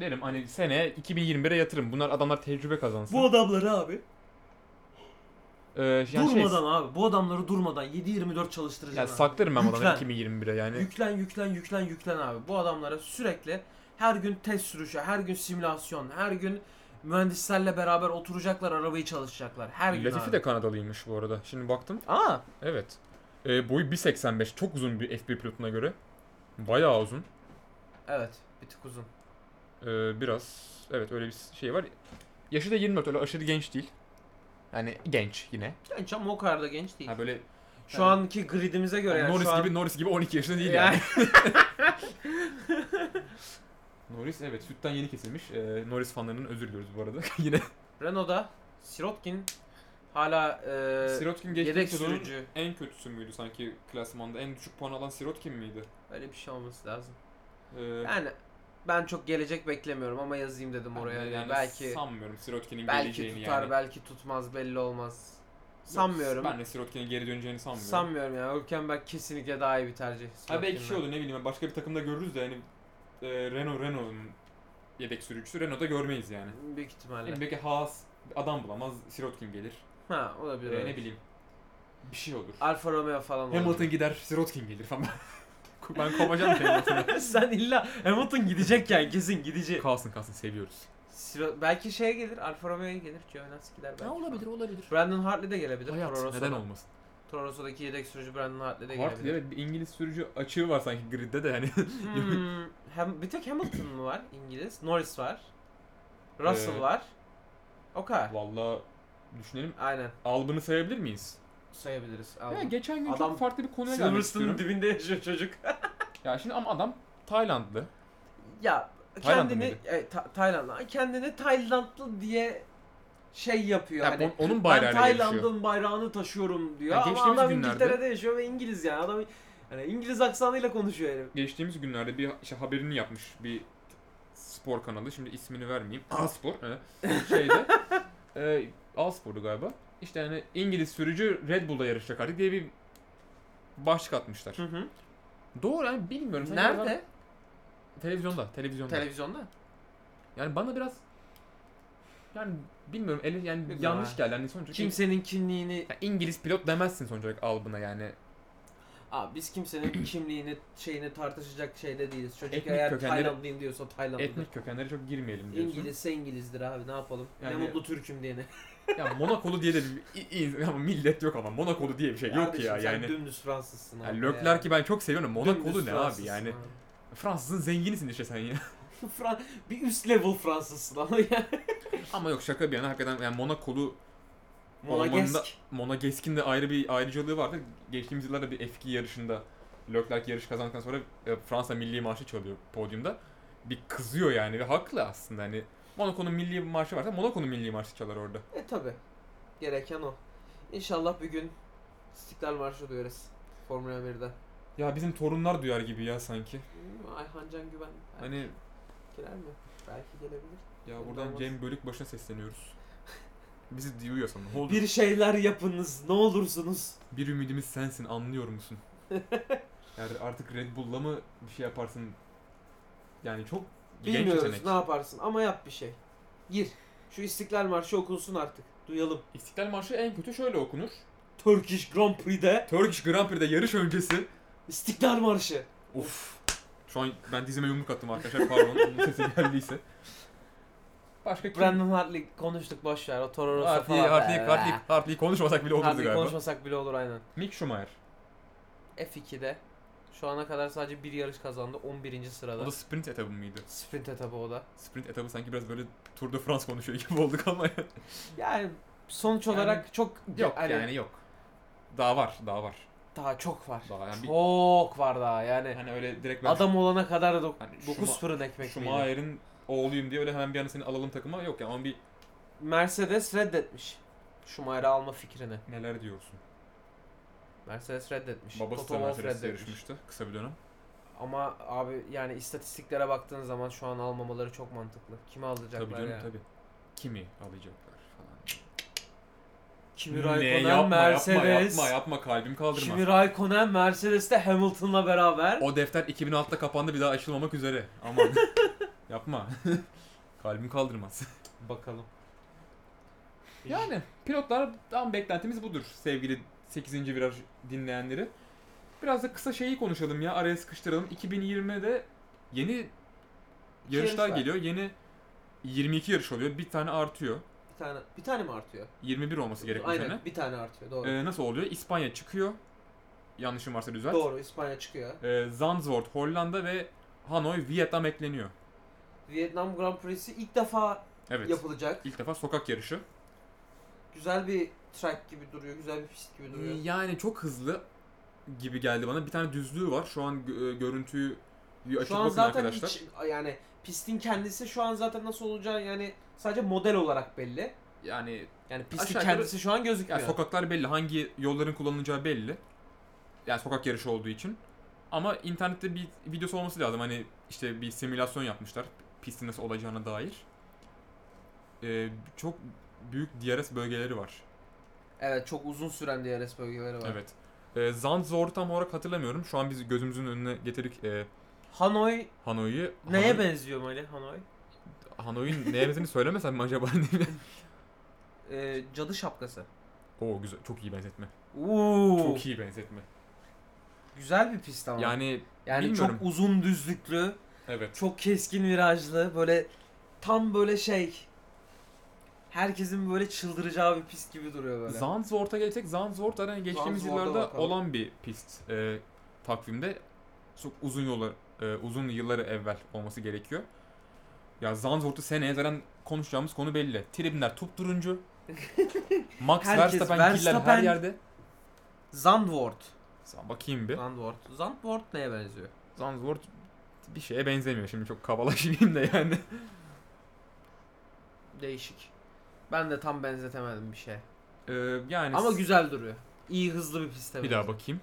Speaker 2: derim hani sene 2021'e yatırım. Bunlar adamlar tecrübe kazansın.
Speaker 1: adamları abi.
Speaker 2: Ee, yani şey-
Speaker 1: durmadan abi. Bu adamları durmadan 7-24 çalıştıracaksın.
Speaker 2: Ya
Speaker 1: abi.
Speaker 2: saklarım ben bu adamı
Speaker 1: Lütfen.
Speaker 2: 2021'e yani.
Speaker 1: Yüklen yüklen yüklen yüklen abi. Bu adamlara sürekli her gün test sürüşü, her gün simülasyon, her gün mühendislerle beraber oturacaklar, arabayı çalışacaklar. Her gün
Speaker 2: Latifi
Speaker 1: abi.
Speaker 2: de Kanadalıymış bu arada. Şimdi baktım.
Speaker 1: Aa,
Speaker 2: Evet. Ee, boyu 1.85. Çok uzun bir F1 pilotuna göre. Bayağı uzun.
Speaker 1: evet. Bir tık uzun.
Speaker 2: Ee, biraz evet öyle bir şey var. Yaşı da 24 öyle aşırı genç değil. Yani genç yine.
Speaker 1: Genç ama o kadar da genç değil.
Speaker 2: Ha böyle
Speaker 1: Şu anki gridimize göre yani
Speaker 2: Norris
Speaker 1: şu an-
Speaker 2: gibi Norris gibi 12 yaşında değil yani.
Speaker 1: Yani-
Speaker 2: Norris evet sütten yeni kesilmiş. Ee, Norris fanlarının özür diliyoruz bu arada. yine
Speaker 1: Renault'da Sirotkin hala e,
Speaker 2: Sirotkin
Speaker 1: yedek
Speaker 2: geçtiğimiz sezonun
Speaker 1: sürücü.
Speaker 2: en kötüsü müydü sanki klasmanda? En düşük puan alan Sirotkin miydi?
Speaker 1: Öyle bir şey olması lazım.
Speaker 2: Ee,
Speaker 1: Yani ben çok gelecek beklemiyorum ama yazayım dedim oraya. Hani
Speaker 2: yani
Speaker 1: belki
Speaker 2: sanmıyorum Sirotkin'in
Speaker 1: belki
Speaker 2: geleceğini
Speaker 1: tutar,
Speaker 2: yani.
Speaker 1: belki tutmaz, belli olmaz.
Speaker 2: Yok,
Speaker 1: Sanmıyorum.
Speaker 2: Ben de Sirotkin'in geri döneceğini sanmıyorum.
Speaker 1: Sanmıyorum ya. Hülkenberg kesinlikle daha iyi bir tercih.
Speaker 2: Ha belki şey
Speaker 1: Slotkin'den.
Speaker 2: olur ne bileyim başka bir takımda görürüz de hani e, Renault Renault'un yedek sürücüsü Renault'da görmeyiz yani.
Speaker 1: Büyük ihtimalle.
Speaker 2: Yani belki Haas adam bulamaz Sirotkin gelir.
Speaker 1: Ha olabilir.
Speaker 2: E,
Speaker 1: öyle.
Speaker 2: ne bileyim bir şey olur.
Speaker 1: Alfa Romeo falan olabilir.
Speaker 2: Hamilton gider Sirotkin gelir falan. ben kovacağım ki Hamilton'ı.
Speaker 1: Sen illa Hamilton gidecek yani kesin gidecek.
Speaker 2: kalsın kalsın seviyoruz.
Speaker 1: Siro- belki şeye gelir, Alfa Romeo'ya gelir, Giovinazzi gider belki.
Speaker 2: olabilir.
Speaker 1: Brandon Hartley de gelebilir. Toro
Speaker 2: Hayat
Speaker 1: Rosso'da.
Speaker 2: neden olmasın?
Speaker 1: Toro Rosso'daki yedek sürücü Brandon Hartley de
Speaker 2: Hartley
Speaker 1: gelebilir.
Speaker 2: evet bir İngiliz sürücü açığı var sanki gridde de hani. yani.
Speaker 1: Hmm, hem, bir tek Hamilton mı var İngiliz? Norris var. Russell
Speaker 2: Ee,
Speaker 1: var. O kadar.
Speaker 2: Valla düşünelim.
Speaker 1: Aynen.
Speaker 2: Albını sayabilir miyiz?
Speaker 1: Sayabiliriz.
Speaker 2: Ya
Speaker 1: Aldım.
Speaker 2: geçen gün
Speaker 1: Adam
Speaker 2: çok farklı bir konuya gelmek istiyorum.
Speaker 1: Silverstone'un dibinde yaşıyor çocuk.
Speaker 2: Ya şimdi ama adam Taylandlı.
Speaker 1: Ya
Speaker 2: Taylandlı
Speaker 1: kendini
Speaker 2: mıydı?
Speaker 1: e, Ta- Taylandlı kendini Taylandlı diye şey yapıyor
Speaker 2: Ya
Speaker 1: hani.
Speaker 2: on- onun
Speaker 1: ben
Speaker 2: bayrağıyla yarışıyor.
Speaker 1: Tayland'ın bayrağını taşıyorum diyor
Speaker 2: Ya
Speaker 1: ama
Speaker 2: geçtiğimiz
Speaker 1: adam
Speaker 2: günlerde-
Speaker 1: İngiltere'de yaşıyor ve İngiliz yani adam hani İngiliz aksanıyla konuşuyor herif.
Speaker 2: Geçtiğimiz günlerde bir işte haberini yapmış bir spor kanalı. Şimdi ismini vermeyeyim.
Speaker 1: Ah.
Speaker 2: A Spor. Ee, şeyde. e, A Spor'du galiba. İşte hani İngiliz sürücü Red Bull'da yarışacak artık diye bir başlık atmışlar.
Speaker 1: Hı hı.
Speaker 2: Doğru yani bilmiyorum. Sanki adam-
Speaker 1: Nerede?
Speaker 2: Televizyonda. Televizyonda.
Speaker 1: Televizyonda.
Speaker 2: yani bana biraz yani bilmiyorum. Ele, yani
Speaker 1: Bilmiyorum
Speaker 2: yanlış
Speaker 1: ha.
Speaker 2: geldi. Yani sonuç olarak-
Speaker 1: Kimsenin kimliğini
Speaker 2: Ya İngiliz pilot demezsin sonuç olarak Albın'a yani.
Speaker 1: Aa, biz kimsenin kimliğini şeyini tartışacak şeyde değiliz. Çocuk
Speaker 2: Etnik
Speaker 1: eğer
Speaker 2: kökenleri-
Speaker 1: Taylandlıyım diyorsa Taylandlıdır.
Speaker 2: Etnik kökenlere çok girmeyelim diyorsun.
Speaker 1: İngilizse İngilizdir abi ne yapalım.
Speaker 2: Yani-
Speaker 1: Ne mutlu Türk'üm diyene.
Speaker 2: Ya Monakolu diye de bir i- i- ama millet yok ama Monakolu diye bir şey yok
Speaker 1: Kardeşim
Speaker 2: ya
Speaker 1: sen
Speaker 2: yani.
Speaker 1: dümdüz Fransızsın abi.
Speaker 2: yani Lökler ki ben çok seviyorum. Monakolu
Speaker 1: Dümdüz
Speaker 2: ne abi
Speaker 1: Fransızsın
Speaker 2: yani? Fransızın zenginisin işte sen ya.
Speaker 1: Fran bir üst level Fransızsın ama yani.
Speaker 2: ama yok şaka bir yana hakikaten yani Monakolu Ormanda-
Speaker 1: Monagesk.
Speaker 2: Monagesk'in de ayrı bir ayrıcalığı vardı. Geçtiğimiz yıllarda bir F2 yarışında Leclerc yarış kazandıktan sonra e, Fransa milli marşı çalıyor podyumda. Bir kızıyor yani ve haklı aslında hani Monaco'nun milli marşı varsa Monaco'nun milli marşı çalar orada.
Speaker 1: E tabi. Gereken o. İnşallah bir gün İstiklal Marşı duyarız. Formula 1'de.
Speaker 2: Ya bizim torunlar duyar gibi ya sanki.
Speaker 1: Hmm, Ayhan Can Güven. Belki
Speaker 2: Hani
Speaker 1: Gelir mi? Belki gelebilir.
Speaker 2: Ya
Speaker 1: Belli
Speaker 2: buradan
Speaker 1: olmaz.
Speaker 2: Cem Bölükbaşı'na sesleniyoruz. Bizi duyuyor sana. Ne oldu? Bir,
Speaker 1: Bir şeyler yapınız ne olursunuz.
Speaker 2: ümidimiz sensin anlıyor musun? yani artık Red Bull'la mı bir şey yaparsın? Yani çok genç
Speaker 1: Bilmiyoruz
Speaker 2: yetenek.
Speaker 1: ne yaparsın ama yap bir şey. Gir. Şu İstiklal Marşı okunsun artık. Duyalım.
Speaker 2: İstiklal Marşı en kötü şöyle okunur.
Speaker 1: Turkish Grand Prix'de
Speaker 2: Turkish Grand Prix'de yarış öncesi.
Speaker 1: İstiklal Marşı.
Speaker 2: Of. Şu an ben dizime yumruk attım arkadaşlar pardon. Bunun sesi geldiyse. Başka kim?
Speaker 1: Brandon Hartley konuştuk boş ver. O Toro Rosso
Speaker 2: Hartley,
Speaker 1: falan.
Speaker 2: Hartley, Hartley, Hartley konuşmasak bile olurdu
Speaker 1: Hartley
Speaker 2: galiba.
Speaker 1: konuşmasak bile olur aynen.
Speaker 2: Mick Schumacher.
Speaker 1: F2'de şu ana kadar sadece bir yarış kazandı 11. sırada.
Speaker 2: O da sprint etabı mıydı?
Speaker 1: Sprint etabı o da.
Speaker 2: Sprint etabı sanki biraz böyle Tour de France konuşuyor gibi olduk ama.
Speaker 1: Yani sonuç
Speaker 2: Yani-
Speaker 1: olarak çok
Speaker 2: Yok
Speaker 1: hani
Speaker 2: yani, yok. Daha var, daha var.
Speaker 1: daha çok var.
Speaker 2: Daha yani Hani bir-
Speaker 1: çok var daha yani.
Speaker 2: Hani öyle direkt ben
Speaker 1: Adam olana kadar do-
Speaker 2: Hani Schuma-
Speaker 1: 9 fırın ekmek miydi?
Speaker 2: Schumacher'in oğluyum diye öyle hemen bir anda seni alalım takıma yok ya ama bir
Speaker 1: Mercedes reddetmiş. Schumacher'ı alma fikrini.
Speaker 2: neler diyorsun.
Speaker 1: Mercedes reddetmiş.
Speaker 2: Babası da
Speaker 1: Toto Wolff
Speaker 2: Mercedes'le
Speaker 1: reddetmiş.
Speaker 2: yarışmıştı kısa bir dönem.
Speaker 1: Ama abi yani istatistiklere baktığın zaman şu an almamaları çok mantıklı. Kimi alacaklar
Speaker 2: Tabii canım
Speaker 1: ya?
Speaker 2: tabii. Kimi alacaklar falan.
Speaker 3: Kimi
Speaker 2: ne
Speaker 3: Raikkonen
Speaker 2: yapma
Speaker 3: Mercedes.
Speaker 2: yapma yapma yapma kalbim kaldırmaz.
Speaker 3: Kimi Raikkonen Mercedes'te Hamilton'la beraber.
Speaker 2: O defter 2006'da kapandı bir daha açılmamak üzere. Aman yapma. kalbim kaldırmaz.
Speaker 3: Bakalım.
Speaker 2: Yani pilotlardan beklentimiz budur sevgili 8. viraj dinleyenleri. Biraz da kısa şeyi konuşalım ya araya sıkıştıralım. 2020'de yeni yarışlar
Speaker 1: yarış var.
Speaker 2: geliyor. Yeni 22 yarış oluyor. Bir tane artıyor.
Speaker 1: Bir tane bir tane mi artıyor?
Speaker 2: 21 olması hani. gerek bu
Speaker 1: Aynen
Speaker 2: sene.
Speaker 1: bir tane artıyor doğru.
Speaker 2: Ee, nasıl oluyor? İspanya çıkıyor. Yanlışım varsa düzelt.
Speaker 1: Doğru İspanya çıkıyor.
Speaker 2: Ee, Zandvoort Hollanda ve Hanoi Vietnam ekleniyor.
Speaker 1: Vietnam Grand Prix'si ilk defa
Speaker 2: Evet.
Speaker 1: yapılacak.
Speaker 2: İlk defa sokak yarışı.
Speaker 1: Güzel bir track gibi duruyor, güzel bir pist gibi duruyor.
Speaker 2: Yani çok hızlı gibi geldi bana. Bir tane düzlüğü var. Şu an gö- e, görüntüyü açıp
Speaker 1: Şu an
Speaker 2: bakın
Speaker 1: zaten
Speaker 2: arkadaşlar.
Speaker 1: hiç yani pistin kendisi şu an zaten nasıl olacağı yani sadece model olarak belli.
Speaker 2: Yani
Speaker 3: Yani pistin
Speaker 2: Aşağı yukarı-
Speaker 3: kendisi şu an
Speaker 2: ya
Speaker 3: gözükmüyor.
Speaker 2: sokaklar belli. Hangi yolların kullanılacağı belli. Yani sokak yarışı olduğu için. Ama internette bir videosu olması lazım. Hani işte bir simülasyon yapmışlar. Pistin nasıl olacağına dair. Ee, çok büyük DRS bölgeleri var.
Speaker 1: Evet çok uzun süren DRS bölgeleri var.
Speaker 2: Evet. Ee, Zandvoort tam olarak hatırlamıyorum. Şu an biz gözümüzün önüne getirdik e,
Speaker 3: Hanoi
Speaker 2: Hanoi'yi.
Speaker 3: neye
Speaker 2: Hanoi-
Speaker 3: benziyor Mali Hanoi?
Speaker 2: Hanoi'nin neye benzediğini söylemesem mi acaba?
Speaker 1: Ee, cadı şapkası.
Speaker 2: Oo güzel. Çok iyi benzetme.
Speaker 1: Oo.
Speaker 2: Çok iyi benzetme.
Speaker 1: Güzel bir pist ama. Yani,
Speaker 2: Yani bilmiyorum.
Speaker 1: çok uzun düzlüklü,
Speaker 2: evet.
Speaker 1: çok keskin virajlı, böyle tam böyle şey herkesin böyle çıldıracağı bir pist gibi duruyor böyle.
Speaker 2: Zandvoort'a gelecek. Zandvoort hani geçtiğimiz
Speaker 1: Zandvoort'a
Speaker 2: yıllarda
Speaker 1: bakalım.
Speaker 2: olan bir pist e, takvimde. Çok uzun yollar, e, uzun yılları evvel olması gerekiyor. Ya Zandvoort'u seneye zaten konuşacağımız konu belli. Tribünler turuncu. Max
Speaker 1: Herkes
Speaker 2: Verstappen, Verstappen her
Speaker 1: Verstappen-
Speaker 2: yerde.
Speaker 1: Zandvoort.
Speaker 2: Sen bakayım bir.
Speaker 1: Zandvoort. Zandvoort neye benziyor?
Speaker 2: Zandvoort bir şeye benzemiyor şimdi çok kabalaşayım da yani.
Speaker 1: Değişik. Ben de tam benzetemedim bir şey.
Speaker 2: Ee, yani
Speaker 1: Ama güzel duruyor. İyi hızlı bir piste
Speaker 2: Bir
Speaker 1: benziyor.
Speaker 2: daha bakayım.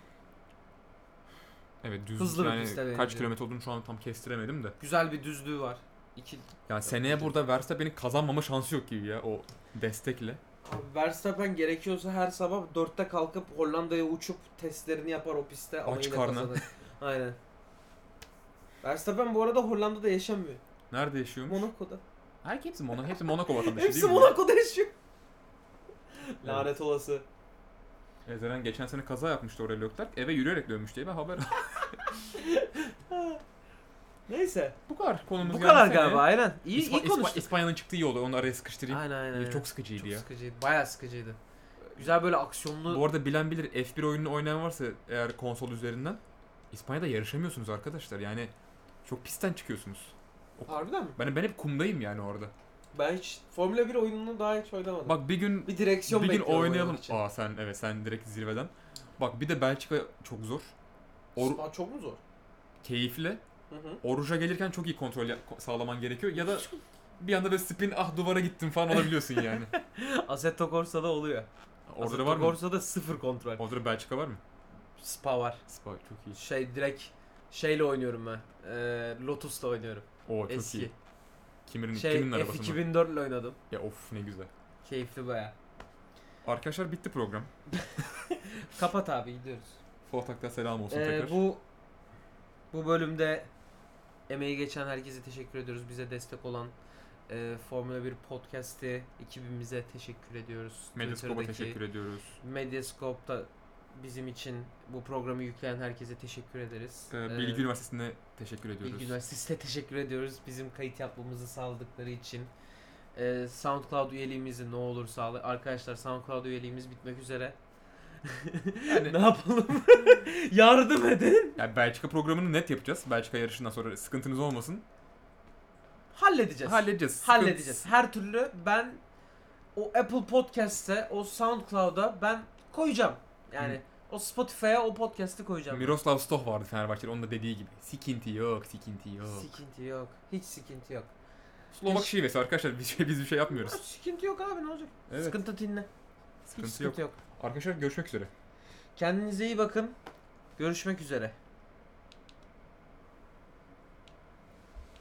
Speaker 2: Evet düz
Speaker 1: Hızlı bir
Speaker 2: yani
Speaker 1: piste
Speaker 2: kaç
Speaker 1: benziyor.
Speaker 2: kilometre olduğunu şu an tam kestiremedim de.
Speaker 1: Güzel bir düzlüğü var. İki...
Speaker 2: Yani seneye burada Verstappen'in kazanmama şansı yok gibi ya o destekle.
Speaker 1: Abi Verstappen gerekiyorsa her sabah 4'te kalkıp Hollanda'ya uçup testlerini yapar o pistte ama
Speaker 2: Aç
Speaker 1: yine
Speaker 2: karnı.
Speaker 1: kazanır. Aynen. Verstappen bu arada Hollanda'da yaşamıyor.
Speaker 2: Nerede yaşıyormuş?
Speaker 1: Monaco'da.
Speaker 2: Herkes hepsi Monaco, hepsi Monaco vatandaşı
Speaker 1: Hepsi
Speaker 2: değil şey mi?
Speaker 1: Monaco'da yaşıyor. Lanet olası.
Speaker 2: Ezeren geçen sene kaza yapmıştı oraya Leclerc. Eve yürüyerek dönmüş diye ben haber aldım.
Speaker 1: Neyse.
Speaker 2: Bu kadar konumuz
Speaker 3: Bu
Speaker 2: yani
Speaker 3: kadar
Speaker 2: seneye.
Speaker 3: galiba aynen. İyi,
Speaker 2: İspa-
Speaker 3: iyi
Speaker 2: İspa-
Speaker 3: konuştuk.
Speaker 2: İspanya'nın çıktığı yolu onu araya sıkıştırayım.
Speaker 3: Aynen aynen.
Speaker 2: Ee,
Speaker 3: aynen.
Speaker 2: Çok sıkıcıydı
Speaker 3: Çok
Speaker 2: ya.
Speaker 3: sıkıcıydı. Bayağı sıkıcıydı. Güzel böyle aksiyonlu.
Speaker 2: Bu arada bilen bilir F1 oyununu oynayan varsa eğer konsol üzerinden İspanya'da yarışamıyorsunuz arkadaşlar. Yani çok pistten çıkıyorsunuz.
Speaker 1: Harbiden mi?
Speaker 2: Ben ben hep kumdayım yani orada.
Speaker 1: Ben hiç Formula 1 oyununu daha hiç oynamadım.
Speaker 2: Bak bir gün
Speaker 1: bir direksiyon
Speaker 2: bir gün
Speaker 1: bekliyorum
Speaker 2: oynayalım.
Speaker 1: oynamak için.
Speaker 2: Aa sen evet sen direkt zirveden. Bak bir de Belçika çok zor. Or-
Speaker 1: Spa çok mu zor?
Speaker 2: keyifli.
Speaker 1: Hı hı.
Speaker 2: Oruca gelirken çok iyi kontrol ya- ko- sağlaman gerekiyor ya da bir anda böyle spin ah duvara gittim falan olabiliyorsun yani.
Speaker 3: Assetto Corsa'da oluyor.
Speaker 2: Orada da
Speaker 3: Assetto
Speaker 2: var mı?
Speaker 3: Corsa'da sıfır kontrol.
Speaker 2: Orada da Belçika var mı?
Speaker 3: Spa var.
Speaker 2: Spa çok iyi.
Speaker 3: Şey direkt şeyle oynuyorum ben. Ee, Lotus'la oynuyorum.
Speaker 2: Oo çok
Speaker 3: Eski.
Speaker 2: iyi. Kimin,
Speaker 3: Şey
Speaker 2: kimin arabası mı?
Speaker 3: F2004 ile oynadım.
Speaker 2: Ya of ne güzel.
Speaker 3: Keyifli baya.
Speaker 2: Arkadaşlar bitti program.
Speaker 3: Kapat abi gidiyoruz.
Speaker 2: Fuat Ak'tan selam olsun
Speaker 3: Ee,
Speaker 2: tekrar.
Speaker 3: bu bu bölümde emeği geçen herkese teşekkür ediyoruz. Bize destek olan e, Formula 1 podcast'i ekibimize teşekkür ediyoruz.
Speaker 2: Medyascope'a
Speaker 3: Twitter'daki-
Speaker 2: teşekkür ediyoruz.
Speaker 3: Medyascope'da bizim için bu programı yükleyen herkese teşekkür ederiz.
Speaker 2: Ee,
Speaker 3: Ee,
Speaker 2: Bilgi Üniversitesi'ne teşekkür ediyoruz.
Speaker 3: Bilgi Üniversitesi'ne teşekkür ediyoruz. Bizim kayıt yapmamızı sağladıkları için. Ee, SoundCloud üyeliğimizi ne olur sağla. Arkadaşlar SoundCloud üyeliğimiz bitmek üzere.
Speaker 2: Yani-
Speaker 3: ne yapalım? Yardım edin.
Speaker 2: Yani Belçika programını net yapacağız. Belçika yarışından sonra sıkıntınız olmasın.
Speaker 3: Halledeceğiz.
Speaker 2: Halledeceğiz.
Speaker 3: Halledeceğiz. Her türlü ben o Apple Podcast'e, o SoundCloud'a ben koyacağım. Yani
Speaker 2: Hı.
Speaker 3: o Spotify'a o podcast'i koyacağım.
Speaker 2: Miroslav Stoh vardı Fenerbahçe'de. Onun da dediği gibi. Sikinti yok, sikinti yok.
Speaker 3: Sikinti yok. Hiç sikinti yok.
Speaker 2: Slovak şivesi arkadaşlar. Biz, biz bir şey yapmıyoruz.
Speaker 3: Sikinti yok abi ne olacak?
Speaker 2: Evet.
Speaker 3: Sıkıntı dinle. Hiç
Speaker 2: Sıkıntı yok.
Speaker 3: sıkıntı yok.
Speaker 2: Arkadaşlar görüşmek üzere.
Speaker 3: Kendinize iyi bakın. Görüşmek üzere.